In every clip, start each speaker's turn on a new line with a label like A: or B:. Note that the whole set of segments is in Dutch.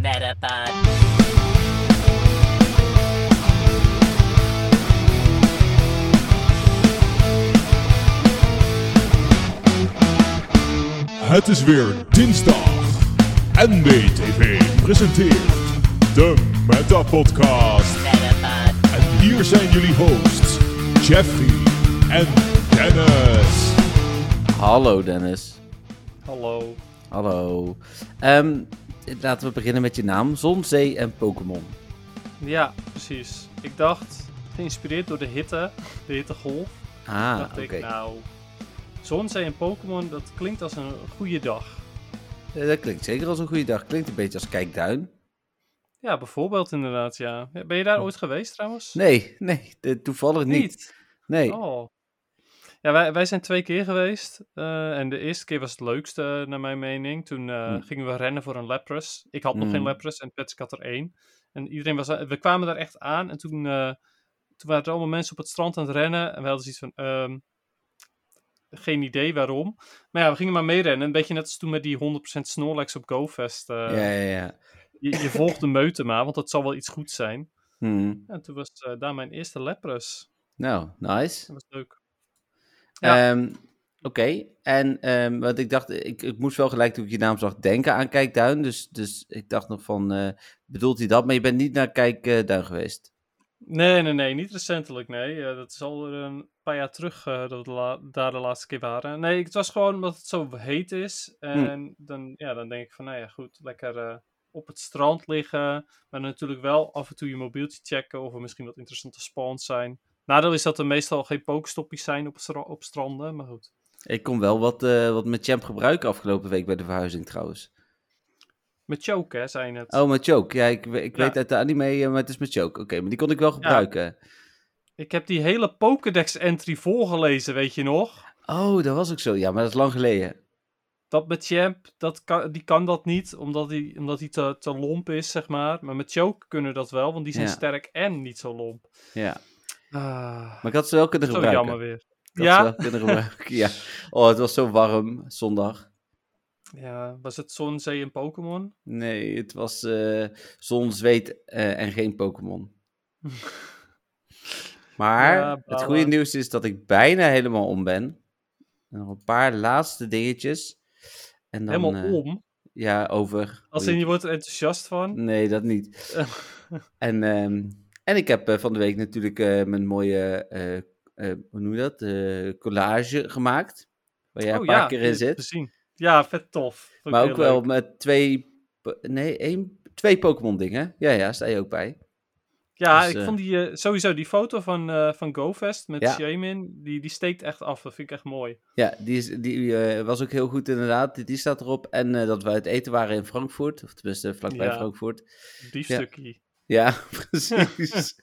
A: Metapod.
B: Het is weer dinsdag. NBTV presenteert de Meta Podcast.
A: Metapod.
B: En hier zijn jullie hosts, Jeffrey en Dennis.
C: Hallo Dennis.
D: Hallo.
C: Hallo. Ehm, laten we beginnen met je naam. Zon, zee en Pokémon.
D: Ja, precies. Ik dacht, geïnspireerd door de hitte, de hittegolf,
C: Ah,
D: dacht
C: oké.
D: ik nou, Zon, Zee en Pokémon, dat klinkt als een goede dag.
C: Eh, Dat klinkt zeker als een goede dag. Klinkt een beetje als kijkduin.
D: Ja, bijvoorbeeld inderdaad, ja. Ja, Ben je daar ooit geweest trouwens?
C: Nee, nee, de- toevallig niet. Nee.
D: Oh. Ja, wij, wij zijn twee keer geweest. eh, en de eerste keer was het leukste, eh, naar mijn mening. Toen eh,
C: Mm.
D: gingen we rennen voor een Lapras. Ik had nog
C: Mm.
D: geen Lapras en Patrick had er één. En iedereen was... eh, We kwamen daar echt aan. En toen, eh, toen waren er allemaal mensen op het strand aan het rennen. En we hadden zoiets van... ehm, geen idee waarom. Maar ja, we gingen maar meerennen. Een beetje net als toen met die 100% Snorlax op GoFest. eh,
C: Ja, ja, ja.
D: je, je volgt de meute maar, want dat zal wel iets goeds zijn.
C: Hm.
D: En toen was eh, daar mijn eerste Lapras.
C: Nou, nice.
D: Dat was leuk. Ja.
C: Ehm, Oké, en ehm wat ik dacht, ik, ik moest wel gelijk toen ik je naam zag denken aan Kijkduin. Dus, dus ik dacht nog van, eh, bedoelt hij dat? Maar je bent niet naar Kijkduin geweest.
D: Nee, nee, nee, niet recentelijk, nee. Eh, dat is al een paar jaar terug eh, dat we la- daar de laatste keer waren. Nee, het was gewoon omdat het zo heet is. En dan, ja, dan denk ik van, nou ja, goed, lekker eh, op het strand liggen. Maar natuurlijk wel af en toe je mobieltje checken of er misschien wat interessante spawns zijn. Nadeel is dat er meestal geen pokestoppies zijn op, stra- op stranden, maar goed.
C: Ik kon wel wat, eh, wat met Champ gebruiken afgelopen week bij de verhuizing trouwens.
D: Met choke, hè, zijn het.
C: Oh, met Choke. Ja, ik, we- ik
D: Ja.
C: weet uit de anime, eh, maar het is met Choke. Oké, maar die kon ik wel gebruiken.
D: Ik heb die hele Pokédex-entry voorgelezen, weet je nog?
C: Oh, dat was ook zo. Ja, maar dat is lang geleden.
D: Dat met Champ, dat kan, die kan dat niet, omdat hij omdat die te, te lomp is, zeg maar. Maar met Choke kunnen dat wel, want die zijn
C: Ja.
D: sterk en niet zo lomp.
C: Ja.
D: Ah,
C: Maar ik had ze wel kunnen
D: zo
C: gebruiken.
D: jammer weer.
C: Ik had ze
D: Ja?
C: wel kunnen gebruiken, ja. Oh, het was zo warm, zondag.
D: ja, was het Zon, Zee en Pokémon?
C: Nee, het was eh, zon, zweet eh, en geen Pokémon. Maar
D: Ja,
C: het
D: balen.
C: goede nieuws is dat ik bijna helemaal om ben. Nog een paar laatste dingetjes. En dan,
D: Helemaal
C: eh,
D: om.
C: Ja, over.
D: Als in, je wordt er enthousiast van.
C: Nee, dat niet. En, ehm, en ik heb eh, van de week natuurlijk eh, mijn mooie, eh, eh, hoe noem je dat, Eh, collage gemaakt. Waar
D: Oh
C: jij een paar keer in zit.
D: Gezien. Ja, vet tof. Vond ik
C: Maar
D: heel
C: ook wel
D: leuk.
C: met twee, po- nee, één, twee Pokémon dingen. Ja, ja, sta je ook bij.
D: Ja,
C: dus,
D: ik
C: eh,
D: vond die, eh, sowieso die foto van, eh van GoFest met
C: Ja.
D: Shamin, die, die steekt echt af. Dat vind ik echt mooi.
C: Ja, die, is, die eh, was ook heel goed inderdaad. Die, die staat erop. En eh, dat we uit eten waren in Frankfurt. Of tenminste vlakbij
D: Ja.
C: Frankfurt.
D: Diefstukje.
C: Ja, precies.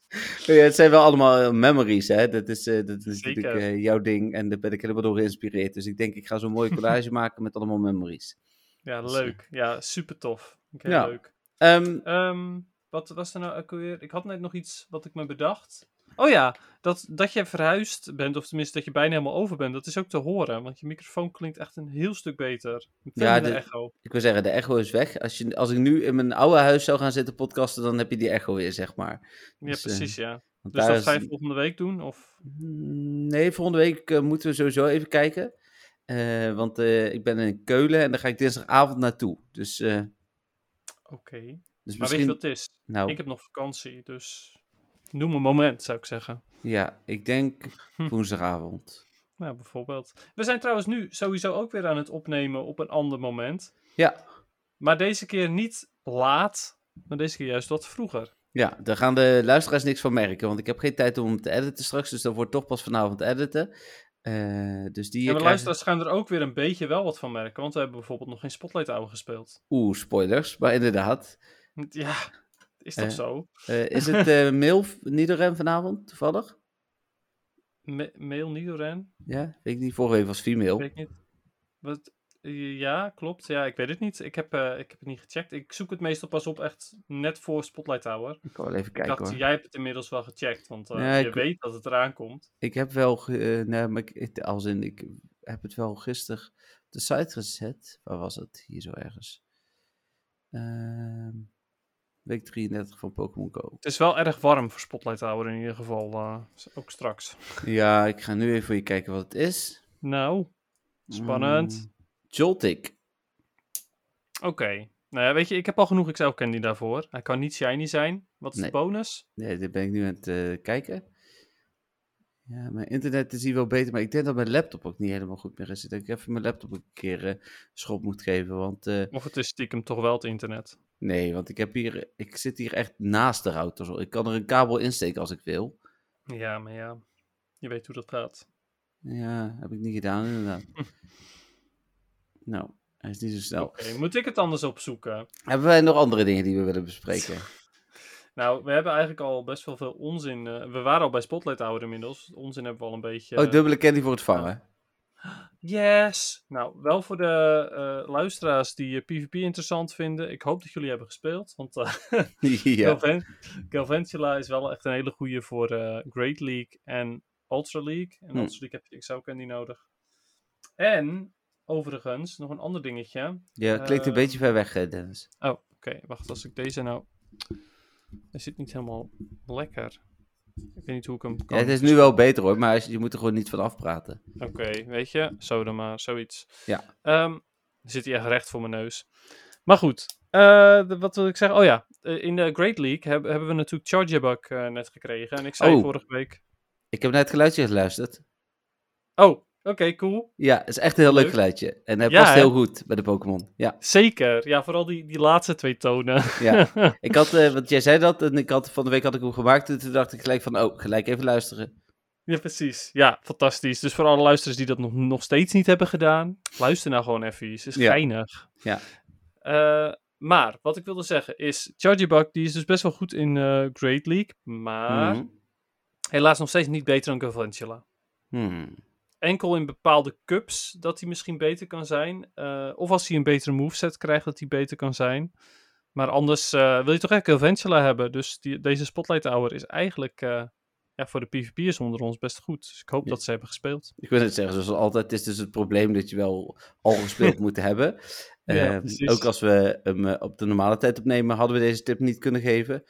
C: ja, het zijn wel allemaal eh, memories, hè. Dat is, eh, dat is
D: Zeker.
C: natuurlijk eh, jouw ding. En daar ben ik helemaal door geïnspireerd. Dus ik denk, ik ga zo'n mooie collage maken met allemaal memories.
D: Ja,
C: Dus, eh,
D: leuk. Ja, super tof. Heel
C: Ja.
D: leuk.
C: Ehm,
D: Ehm, wat was er nou ook weer? Ik had net nog iets wat ik me bedacht. Oh ja, dat, dat je verhuisd bent, of tenminste dat je bijna helemaal over bent, dat is ook te horen. Want je microfoon klinkt echt een heel stuk beter. Veel
C: Ja,
D: minder
C: de-
D: echo.
C: ik wil zeggen, de echo is weg. Als, je, als ik nu in mijn oude huis zou gaan zitten podcasten, dan heb je die echo weer, zeg maar.
D: Ja,
C: dus, eh,
D: precies, ja.
C: Want
D: Dus
C: daar
D: dat ga je
C: is-
D: volgende week doen? Of...
C: Mm, Nee, volgende week eh, moeten we sowieso even kijken. Eh, want eh, ik ben in Keulen en daar ga ik dinsdagavond naartoe. Dus, eh, dus
D: Oké. Maar weet je
C: misschien...
D: wat het is?
C: nou,
D: Ik heb nog vakantie, dus noem een moment, zou ik zeggen.
C: ja, ik denk
D: Hm.
C: woensdagavond.
D: Nou, bijvoorbeeld. We zijn trouwens nu sowieso ook weer aan het opnemen op een ander moment.
C: Ja,
D: Maar deze keer niet laat, maar deze keer juist wat vroeger.
C: Ja, daar gaan de luisteraars niks van merken, want ik heb geen tijd om hem te editen straks, dus dat wordt toch pas vanavond editen. Eh, dus die
D: Ja, maar
C: krijgen-
D: luisteraars gaan er ook weer een beetje wel wat van merken, want we hebben bijvoorbeeld nog geen Spotlight Hour gespeeld.
C: Oeh, spoilers, maar inderdaad.
D: Ja, is toch
C: Eh.
D: zo?
C: Eh, is het eh mail Nidoren vanavond, toevallig?
D: Ma- mail Nidoran?
C: Ja, weet ik niet. Vorige week was female.
D: Weet ik niet. Wat? eh, Ja, klopt. Ja, ik weet het niet. Ik heb, eh, ik heb het niet gecheckt. Ik zoek het meestal pas op echt net voor Spotlight Hour.
C: Ik kan wel even
D: Ik
C: kijken
D: dacht,
C: hoor.
D: jij hebt het inmiddels wel gecheckt, want eh,
C: Ja,
D: je
C: ik-
D: weet dat het eraan komt.
C: Ik heb wel, ge- eh, nee, maar ik, ik- als in, ik heb het wel gisteren op de site gezet. Waar was het? Hier zo ergens. Ehm, Week 33 van Pokémon Go.
D: Het is wel erg warm voor Spotlight Hour in ieder geval. eh, ook straks.
C: Ja, ik ga nu even voor je kijken wat het is.
D: Nou, spannend.
C: Mm, Joltik.
D: Oké. Nou ja, weet je, ik heb al genoeg XL Candy daarvoor. Hij kan niet shiny zijn. Wat is
C: Nee.
D: de bonus?
C: Nee, dit ben ik nu aan het eh, kijken. Ja, mijn internet is hier wel beter, maar ik denk dat mijn laptop ook niet helemaal goed meer is. Dat ik even mijn laptop een keer eh, schop moet geven, want... eh,
D: Of het is stiekem toch wel het internet.
C: nee, want ik, heb hier, ik zit hier echt naast de router. Ik kan er een kabel insteken als ik wil.
D: Ja, maar ja. Je weet hoe dat gaat.
C: Ja, heb ik niet gedaan inderdaad. nou, hij is niet zo snel.
D: Oké, moet ik het anders opzoeken?
C: Hebben wij nog andere dingen die we willen bespreken?
D: Nou, we hebben eigenlijk al best wel veel onzin. eh, we waren al bij Spotlight Hour inmiddels. Onzin hebben we al een beetje.
C: Oh, dubbele candy voor het vangen.
D: Yes! Nou, wel voor de eh, luisteraars die eh, PvP interessant vinden. Ik hoop dat jullie hebben gespeeld. Want eh,
C: ja.
D: Galvan- Galvantula is wel echt een hele goede voor eh, Great League en Ultra League. En
C: Hm.
D: Ultra League heb je XL Candy nodig. En, overigens, nog een ander dingetje.
C: ja, klinkt een
D: eh,
C: beetje ver weg, eh, Dennis.
D: Oh, oké. Wacht, als ik deze nou... Hij zit niet helemaal lekker. Ik weet niet hoe ik hem
C: Ja,
D: kan...
C: het is nu wel beter hoor, maar als- je moet er gewoon niet van afpraten.
D: Oké, weet je, zo dan maar, zoiets.
C: Ja.
D: Ehm, dan zit hij echt recht voor mijn neus. Maar goed, eh, de- wat wil ik zeggen? Oh ja, eh, in de Great League heb- hebben we natuurlijk Chargebug eh net gekregen. En ik zei
C: Oh.
D: vorige week...
C: Ik heb naar het geluidje geluisterd.
D: Oh, oké, cool.
C: Ja, het is echt een heel leuk,
D: Leuk.
C: geluidje. En hij
D: Ja,
C: past
D: hè?
C: heel goed bij de Pokémon. Ja,
D: Zeker. Ja, vooral die, die laatste twee tonen.
C: ja. ik had, eh, want jij zei dat en ik had, van de week had ik hem gemaakt. En toen dacht ik gelijk van, oh, gelijk even luisteren.
D: ja, precies. Ja, fantastisch. Dus voor alle luisteraars die dat nog, nog steeds niet hebben gedaan, luister nou gewoon even. Het is
C: Ja.
D: geinig.
C: Ja.
D: Eh, maar, wat ik wilde zeggen is, Chargebug die is dus best wel goed in eh, Great League, maar
C: Mhm.
D: helaas nog steeds niet beter dan Galvantula.
C: Hmm.
D: Enkel in bepaalde cups dat hij misschien beter kan zijn. eh, of als hij een betere moveset krijgt, dat hij beter kan zijn. Maar anders eh, wil je toch echt Galvantula hebben. Dus die, deze Spotlight Hour is eigenlijk eh, ja, voor de PvP'ers onder ons best goed. Dus ik hoop
C: Ja.
D: dat ze hebben gespeeld.
C: Ik wil het zeggen, zoals altijd, het is dus het probleem dat je wel al gespeeld moet hebben.
D: Ja,
C: Ehm,
D: precies.
C: ook als we hem eh, op de normale tijd opnemen, hadden we deze tip niet kunnen geven.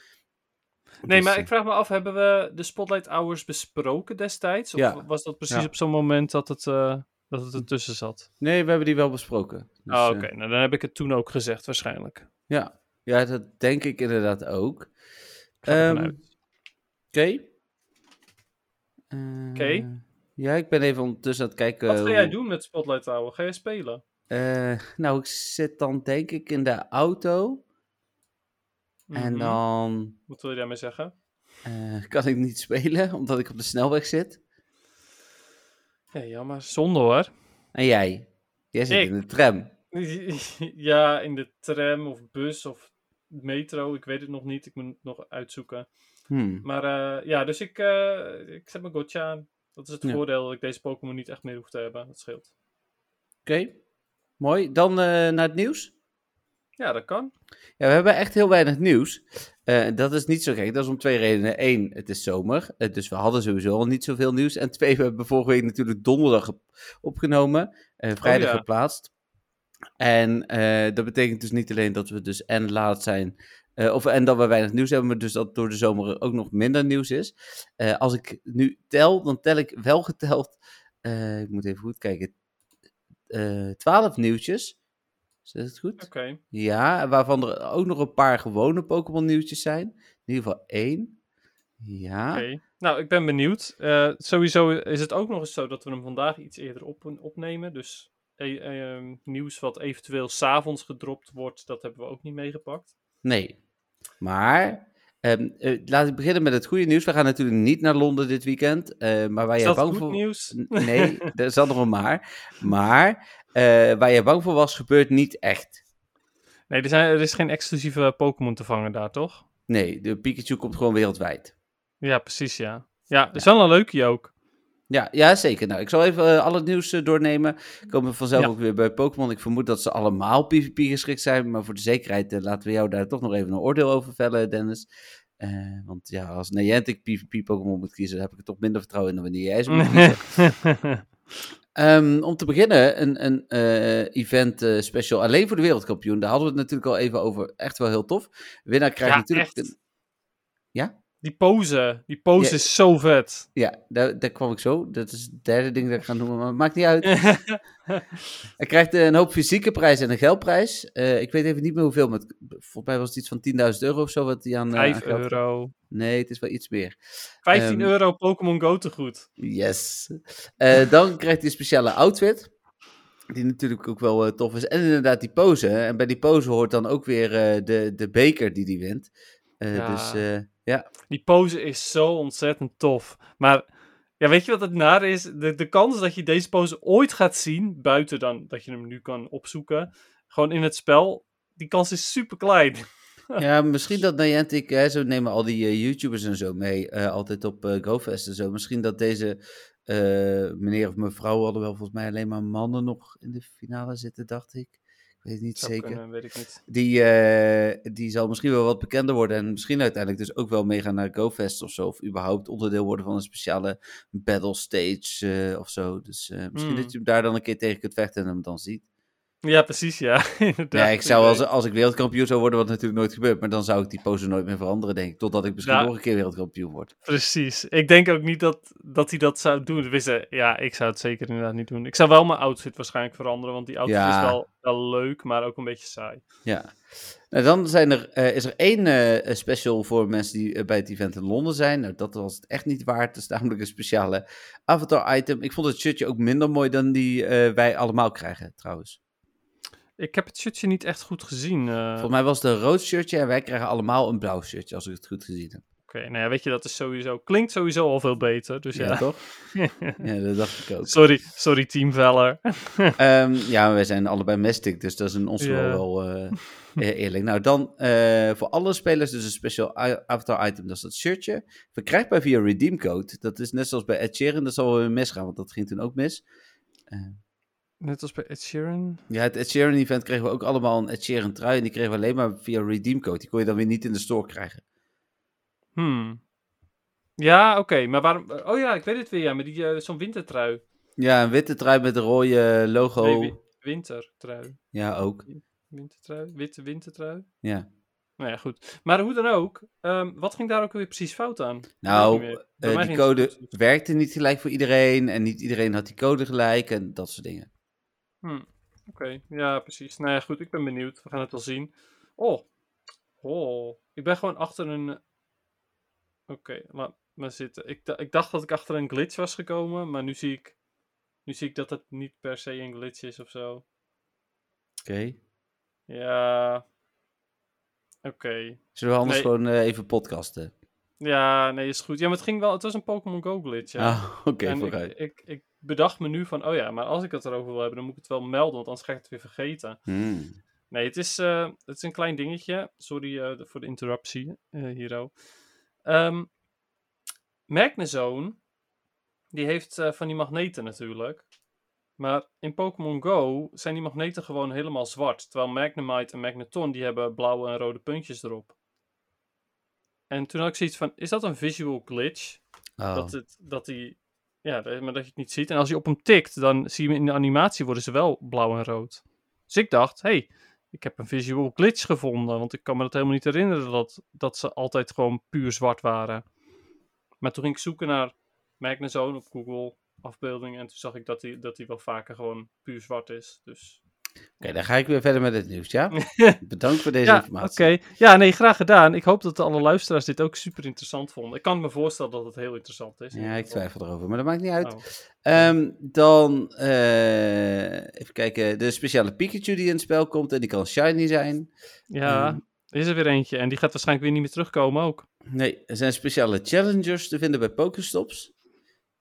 D: Nee,
C: Dus,
D: maar
C: eh,
D: ik vraag me af, hebben we de Spotlight Hours besproken destijds? Of
C: Ja.
D: was dat precies
C: Ja.
D: op zo'n moment dat het, eh, dat het ertussen zat?
C: Nee, we hebben die wel besproken. Dus,
D: Ah,
C: eh,
D: Oké, nou dan heb ik het toen ook gezegd waarschijnlijk.
C: ja. ja, dat denk ik inderdaad ook.
D: ga ervan
C: Ehm,
D: uit.
C: Oké. Eh,
D: Oké.
C: ja, ik ben even ondertussen aan het kijken.
D: Wat ga
C: Eh, hoe-
D: jij doen met Spotlight Hour? Ga jij spelen?
C: Eh, nou, ik zit dan denk ik in de auto. En
D: Mhm.
C: dan
D: Wat wil je daarmee zeggen?
C: eh, kan ik niet spelen, omdat ik op de snelweg zit.
D: Ja, jammer. Zonde hoor.
C: En jij? Jij zit
D: Ik.
C: in de tram.
D: ja, in de tram of bus of metro. Ik weet het nog niet. Ik moet het nog uitzoeken.
C: Hmm.
D: Maar eh, ja, dus ik, eh, ik zet mijn gotcha aan. Dat is het
C: Ja.
D: voordeel dat ik deze Pokémon niet echt meer hoef te hebben. Dat scheelt.
C: Oké, mooi. Dan eh, naar het nieuws.
D: Ja, dat kan.
C: Ja, we hebben echt heel weinig nieuws. Eh, dat is niet zo gek. Dat is om twee redenen. Eén, het is zomer. eh, dus we hadden sowieso al niet zoveel nieuws. En twee, we hebben vorige week natuurlijk donderdag op- opgenomen. eh, vrijdag
D: ja.
C: geplaatst. En eh, dat betekent dus niet alleen dat we dus en laat zijn. eh, of, en dat we weinig nieuws hebben, maar dus dat door de zomer ook nog minder nieuws is. Eh, als ik nu tel, dan tel ik wel geteld. eh, ik moet even goed kijken. eh, Twaalf nieuwtjes. Is dat goed?
D: Oké.
C: Ja, en waarvan er ook nog een paar gewone Pokémon nieuwtjes zijn. In ieder geval één. Ja.
D: Oké. Nou, ik ben benieuwd. Eh, sowieso is het ook nog eens zo dat we hem vandaag iets eerder op opnemen. Dus eh, eh, nieuws wat eventueel s'avonds gedropt wordt, dat hebben we ook niet meegepakt.
C: Nee. Maar ehm eh, laat ik beginnen met het goede nieuws. We gaan natuurlijk niet naar Londen dit weekend. eh, maar waar
D: Is
C: jij
D: dat
C: bang
D: goed
C: voor...
D: nieuws?
C: N- Nee, er zat nog een maar. Maar eh, waar jij bang voor was, gebeurt niet echt.
D: Nee, er, zijn, er is geen exclusieve Pokémon te vangen daar, toch?
C: Nee, de Pikachu komt gewoon wereldwijd.
D: Ja, precies, ja. Ja, is wel een leuke ook.
C: Ja, ja, zeker. Nou, ik zal even eh, al het nieuws eh, doornemen. Komen we vanzelf
D: Ja.
C: ook weer bij Pokémon. Ik vermoed dat ze allemaal PvP geschikt zijn. Maar voor de zekerheid eh, laten we jou daar toch nog even een oordeel over vellen, Dennis. Eh, want ja, als Niantic PvP Pokémon moet kiezen, dan heb ik er toch minder vertrouwen in dan wanneer jij ze moet kiezen. Ehm, om te beginnen, een, een eh, event eh, special alleen voor de wereldkampioen. Daar hadden we het natuurlijk al even over. Echt wel heel tof. Winnaar krijgt
D: Ja,
C: natuurlijk...
D: echt.
C: Ja?
D: Die pose, die pose
C: Ja.
D: is zo vet.
C: Ja, daar, daar kwam ik zo. Dat is het derde ding dat ik ga noemen, maar maakt niet uit. Hij krijgt eh, een hoop fysieke prijs en een geldprijs. Eh, ik weet even niet meer hoeveel, maar het- volgens mij was het iets van 10.000 euro of zo. Wat hij aan, eh, aan
D: 5
C: geld-
D: euro.
C: Nee, het is wel iets meer.
D: 15
C: Ehm,
D: euro Pokémon Go te goed.
C: Yes. Eh, dan krijgt hij een speciale outfit. Die natuurlijk ook wel eh, tof is. En inderdaad die pose. hè. En bij die pose hoort dan ook weer eh, de, de beker die die wint. Eh,
D: Ja.
C: Dus eh,
D: Die pose is zo ontzettend tof. Maar ja, weet je wat het naar is? De, de kans dat je deze pose ooit gaat zien, buiten dan dat je hem nu kan opzoeken, gewoon in het spel, die kans is super klein.
C: ja, misschien dat Niantic, hè, zo nemen al die eh, YouTubers en zo mee, eh, altijd op eh, GoFest en zo. Misschien dat deze eh, meneer of mevrouw hadden wel volgens mij alleen maar mannen nog in de finale zitten, dacht ik. Ik weet het niet
D: Zou
C: zeker.
D: kunnen, weet ik niet.
C: Die, eh, die zal misschien wel wat bekender worden. En misschien uiteindelijk dus ook wel meegaan naar GoFest of zo. Of überhaupt onderdeel worden van een speciale battle stage eh, of zo. Dus eh, misschien
D: Hmm.
C: dat je hem daar dan een keer tegen kunt vechten en hem dan ziet.
D: Ja, precies, ja.
C: Ja,
D: Inderdaad,
C: ik zou als, als ik wereldkampioen zou worden, wat natuurlijk nooit gebeurt. Maar dan zou ik die pose nooit meer veranderen, denk ik. Totdat ik misschien
D: Nou.
C: nog een keer wereldkampioen word.
D: Precies. Ik denk ook niet dat, dat hij dat zou doen. Dus, eh, ja, ik zou het zeker inderdaad niet doen. Ik zou wel mijn outfit waarschijnlijk veranderen, want die outfit
C: Ja.
D: is wel, wel leuk, maar ook een beetje saai.
C: Ja. Nou, dan zijn er, eh, is er één eh, special voor mensen die eh, bij het event in Londen zijn. Nou, dat was het echt niet waard. Het is namelijk een speciale avatar-item. Ik vond het shirtje ook minder mooi dan die eh, wij allemaal krijgen, trouwens.
D: Ik heb het shirtje niet echt goed gezien. eh.
C: Volgens mij was het een rood shirtje en wij krijgen allemaal een blauw shirtje, als ik het goed gezien heb.
D: Oké, nou ja, weet je, dat is sowieso, klinkt sowieso al veel beter. Dus ja,
C: toch? ja, dat dacht ik ook.
D: sorry, sorry Team Veller.
C: Ehm, ja, maar wij zijn allebei Mastic, dus dat is in ons
D: Ja.
C: wel wel eh, eh, eerlijk. Nou, dan eh, voor alle spelers dus een special i- avatar item, dat is dat shirtje. Verkrijgbaar via redeemcode. Dat is net zoals bij Ed Sheeran, dat zal wel weer misgaan, want dat ging toen ook mis.
D: Net als bij Ed Sheeran.
C: Ja, het Ed Sheeran event kregen we ook allemaal een Ed Sheeran trui en die kregen we alleen maar via redeemcode. Die kon je dan weer niet in de store krijgen.
D: Hmm. Ja, oké, maar waarom... Oh ja, ik weet het weer, ja, maar die, eh, zo'n wintertrui.
C: Ja, een witte trui met een rode eh, logo.
D: Nee, wi- wintertrui.
C: Ja, ook.
D: Wintertrui? Witte wintertrui?
C: Ja.
D: Nou ja, goed. Maar hoe dan ook, ehm, wat ging daar ook weer precies fout aan?
C: Nou,
D: Weet ik niet meer. Bij
C: eh,
D: mij
C: die
D: ging het
C: code
D: goed.
C: werkte niet gelijk voor iedereen en niet iedereen had die code gelijk en dat soort dingen.
D: Hm, Oké, ja, precies. Nou ja, goed, ik ben benieuwd. We gaan het wel zien. Oh, oh. ik ben gewoon achter een... Oké, laat maar zitten. Ik, da- ik dacht dat ik achter een glitch was gekomen, maar nu zie ik... Nu zie ik dat het niet per se een glitch is of zo.
C: Oké.
D: Ja... Oké.
C: Zullen we anders
D: Nee.
C: gewoon eh, even podcasten?
D: Ja, nee, is goed. Ja, maar het ging wel... Het was een Pokémon Go glitch, ja.
C: Ah, oké,
D: En
C: vooruit.
D: ik, ik, ik bedacht me nu van, oh ja, maar als ik het erover wil hebben, dan moet ik het wel melden, want anders ga ik het weer vergeten.
C: Hmm.
D: Nee, het is, eh, het is een klein dingetje. Sorry eh, de- voor de interruptie, eh Hiro. Ehm Magnezone, die heeft eh, van die magneten natuurlijk. Maar in Pokémon Go zijn die magneten gewoon helemaal zwart. Terwijl Magnemite en Magneton, die hebben blauwe en rode puntjes erop. En toen had ik zoiets van, is dat een visual glitch?
C: Oh.
D: Dat, eh, het, dat die. Ja, dat- maar dat je het niet ziet. En als je op hem tikt, dan zie je hem in de animatie worden ze wel blauw en rood. Dus ik dacht, hé, hey, ik heb een visual glitch gevonden. Want ik kan me dat helemaal niet herinneren dat, dat ze altijd gewoon puur zwart waren. Maar toen ging ik zoeken naar Magnezone op Google afbeeldingen. En toen zag ik dat die, dat die wel vaker gewoon puur zwart is. Dus.
C: Oké, dan ga ik weer verder met het nieuws, ja? Bedankt voor deze
D: ja, oké.
C: informatie.
D: Ja, nee, graag gedaan. Ik hoop dat alle luisteraars dit ook super interessant vonden. Ik kan me voorstellen dat het heel interessant is. in
C: Ja,
D: ieder
C: ik
D: geval.
C: twijfel erover, maar dat maakt niet uit.
D: Oh.
C: Ehm, dan, eh, even kijken, de speciale Pikachu die in het spel komt en die kan shiny zijn.
D: Ja,
C: Ehm.
D: is er weer eentje. En die gaat waarschijnlijk weer niet meer terugkomen ook.
C: Nee, er zijn speciale challengers te vinden bij Pokestops. Dat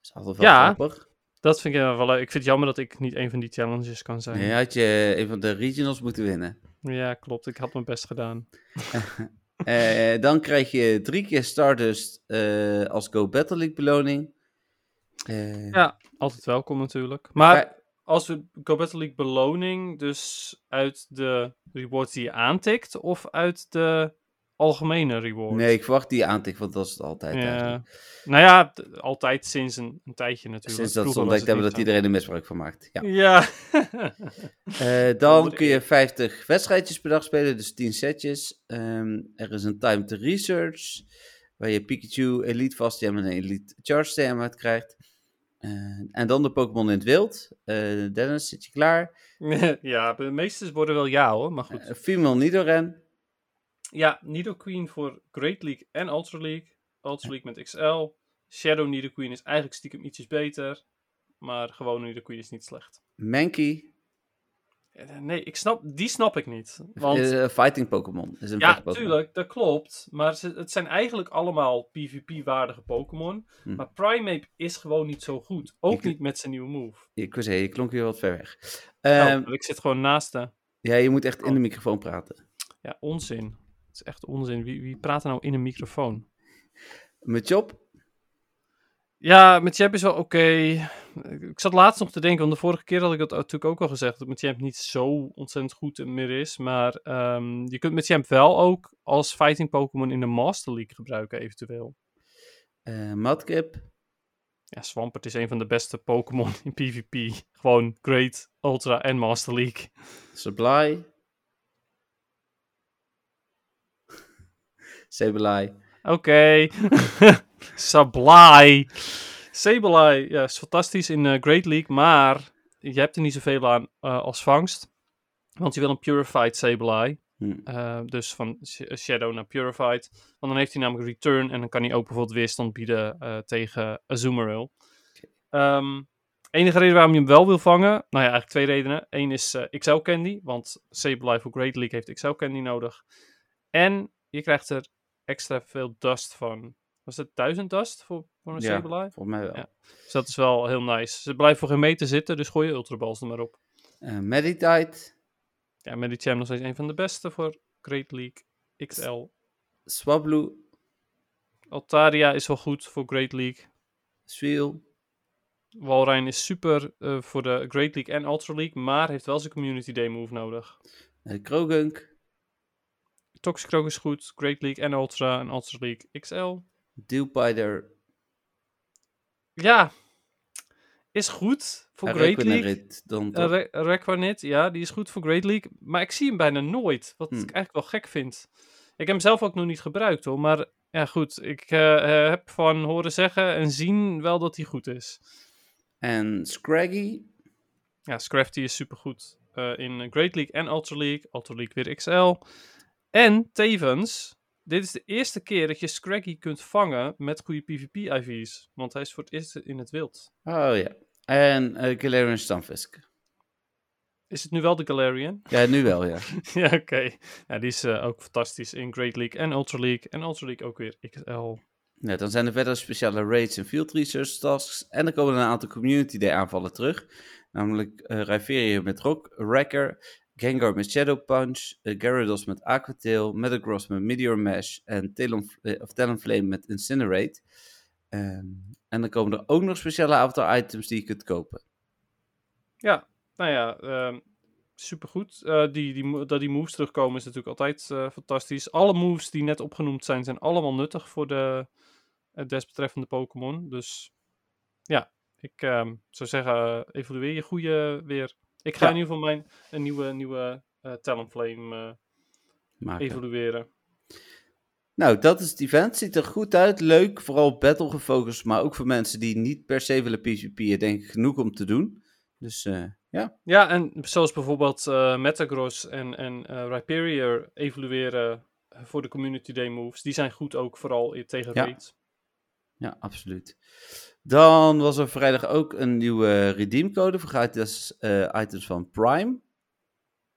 C: is altijd wel
D: Ja.
C: grappig.
D: Dat vind ik eh, wel leuk. Ik vind het jammer dat ik niet een van die challenges kan zijn.
C: Nee, had je een van de regionals moeten winnen.
D: Ja, klopt. Ik had mijn best gedaan.
C: Eh, dan krijg je drie keer Stardust eh, als Go Battle League beloning. Eh,
D: Ja, altijd welkom natuurlijk. Maar
C: vij-
D: als we Go Battle League beloning dus uit de rewards die je aantikt of uit de algemene reward.
C: Nee, ik verwacht die aantik, want dat is het altijd
D: ja.
C: eigenlijk.
D: Nou ja, t- altijd sinds een, een tijdje natuurlijk.
C: Sinds dat ze
D: Vroeger
C: ontdekt
D: was
C: hebben
D: het
C: dat iedereen er misbruik van maakt. Ja.
D: niet zo. Ja.
C: Eh, dan kun je 50 wedstrijdjes per dag spelen, dus 10 setjes. Ehm, er is een time to research, waar je Pikachu, Elite Vastem en Elite Charge Stem uit krijgt. Eh, en dan de Pokémon in het wild. Eh, Dennis, zit je klaar?
D: ja, de meeste worden wel ja hoor, maar goed.
C: Eh, Female Nidoran.
D: Ja, Nidoqueen voor Great League en Ultra League. Ultra League met XL. Shadow Nidoqueen is eigenlijk stiekem ietsjes beter. Maar gewone Nidoqueen is niet slecht.
C: Mankey,
D: Eh, Nee, ik snap, die snap ik niet. Want
C: is een eh, fighting Pokémon. Is een
D: ja,
C: vechtpokémon.
D: tuurlijk, dat klopt. Maar ze- het zijn eigenlijk allemaal PvP-waardige Pokémon.
C: Hm.
D: Maar Primeape is gewoon niet zo goed. Ook
C: Ik-
D: niet met zijn nieuwe move.
C: Ik wou zeggen, je klonk weer wat ver weg.
D: Nou, Oh.
C: Ehm,
D: want ik zit gewoon naast de...
C: Ja, je moet echt in de microfoon praten.
D: Ja, onzin. Het is echt onzin. Wie, wie praat er nou in een microfoon?
C: Met Job,
D: Ja, met Jeb is wel oké. Ik zat laatst nog te denken, want de vorige keer had ik dat natuurlijk ook al gezegd, dat met Jeb niet zo ontzettend goed meer is. Maar ehm, je kunt met Jeb wel ook als fighting Pokémon in de Master League gebruiken, eventueel.
C: eh Madcap,
D: Ja, Swampert is een van de beste Pokémon in PvP. Gewoon Great, Ultra en Master League.
C: Supply. Sableye.
D: Oké. Sablai. Sableye, ja, is fantastisch in eh, Great League, maar je hebt er niet zoveel aan eh, als vangst. Want je wil een Purified Sableye.
C: Hm.
D: Eh, dus van Sh- eh, Shadow naar Purified. Want dan heeft hij namelijk Return. En dan kan hij ook bijvoorbeeld weerstand bieden eh, tegen Azumarill. Ehm, enige reden waarom je hem wel wil vangen. Nou ja, eigenlijk twee redenen. Eén is eh, XL Candy. Want Sableye voor Great League heeft XL Candy nodig. En je krijgt er extra veel dust van. Was het 1000 dust voor, voor een
C: Ja,
D: Sableye?
C: volgens mij wel.
D: Ja. Dus dat is wel heel nice. Ze blijven voor geen meter zitten. Dus gooi je Ultra Balls er maar op.
C: Eh, Meditite.
D: Ja, Medicham nog steeds een van de beste voor Great League XL.
C: Swablu.
D: Altaria is wel goed voor Great League.
C: Sweel.
D: Walrein is super eh, voor de Great League en Ultra League, maar heeft wel zijn Community Day move nodig.
C: eh, Krogunk.
D: Toxicroak is goed, Great League en Ultra en Ultra League XL.
C: Dealpider.
D: Ja, is goed voor
C: en
D: Great League.
C: Requinarit, Dan
D: Eh,
C: toch?
D: Re- Requanit, ja, die is goed voor Great League, maar ik zie hem bijna nooit, wat
C: Hmm.
D: ik eigenlijk wel gek vind. Ik heb hem zelf ook nog niet gebruikt hoor, maar ja goed, ik eh, eh, heb van horen zeggen en zien wel dat hij goed is.
C: En Scraggy.
D: Ja, Scrafty is supergoed eh, in Great League en Ultra League. Ultra League weer XL. En tevens, dit is de eerste keer dat je Scraggy kunt vangen met goede PvP-IV's. Want hij is voor het eerst in het wild.
C: Oh ja. En eh Galarian Stunfisk.
D: Is het nu wel de Galarian?
C: Ja, nu wel, ja.
D: ja, oké. Ja, die is eh, ook fantastisch in Great League en Ultra League. En Ultra League ook weer XL.
C: Nou, dan zijn er verder speciale raids en field research tasks. En er komen een aantal community day aanvallen terug. Namelijk eh Rhyperior met Rock, Wrecker, Gengar met Shadow Punch, eh, Gyarados met Aquatail, Metagross met Meteor Mash en Talon, eh, of Talonflame met Incinerate. Ehm, en dan komen er ook nog speciale avatar items die je kunt kopen.
D: Ja, nou ja, ehm, supergoed. Eh, die, die, mo- dat die moves terugkomen is natuurlijk altijd eh, fantastisch. Alle moves die net opgenoemd zijn, zijn allemaal nuttig voor de eh, desbetreffende Pokémon. Dus ja, ik ehm, zou zeggen, eh, evalueer je goede weer. Ik ga
C: Ja.
D: in ieder geval mijn een nieuwe, nieuwe eh Talonflame eh,
C: Maken.
D: evalueren.
C: Nou, dat is het event. Ziet er goed uit. Leuk. Vooral battle gefocust. Maar ook voor mensen die niet per se willen PvP'en, denk ik genoeg om te doen. Dus eh, ja.
D: Ja, en zoals bijvoorbeeld eh Metagross en, en eh Rhyperior evalueren voor de Community Day moves. Die zijn goed ook vooral i- tegen
C: Ja.
D: raids.
C: Ja, absoluut. Dan was er vrijdag ook een nieuwe redeemcode voor gratis eh, items van Prime.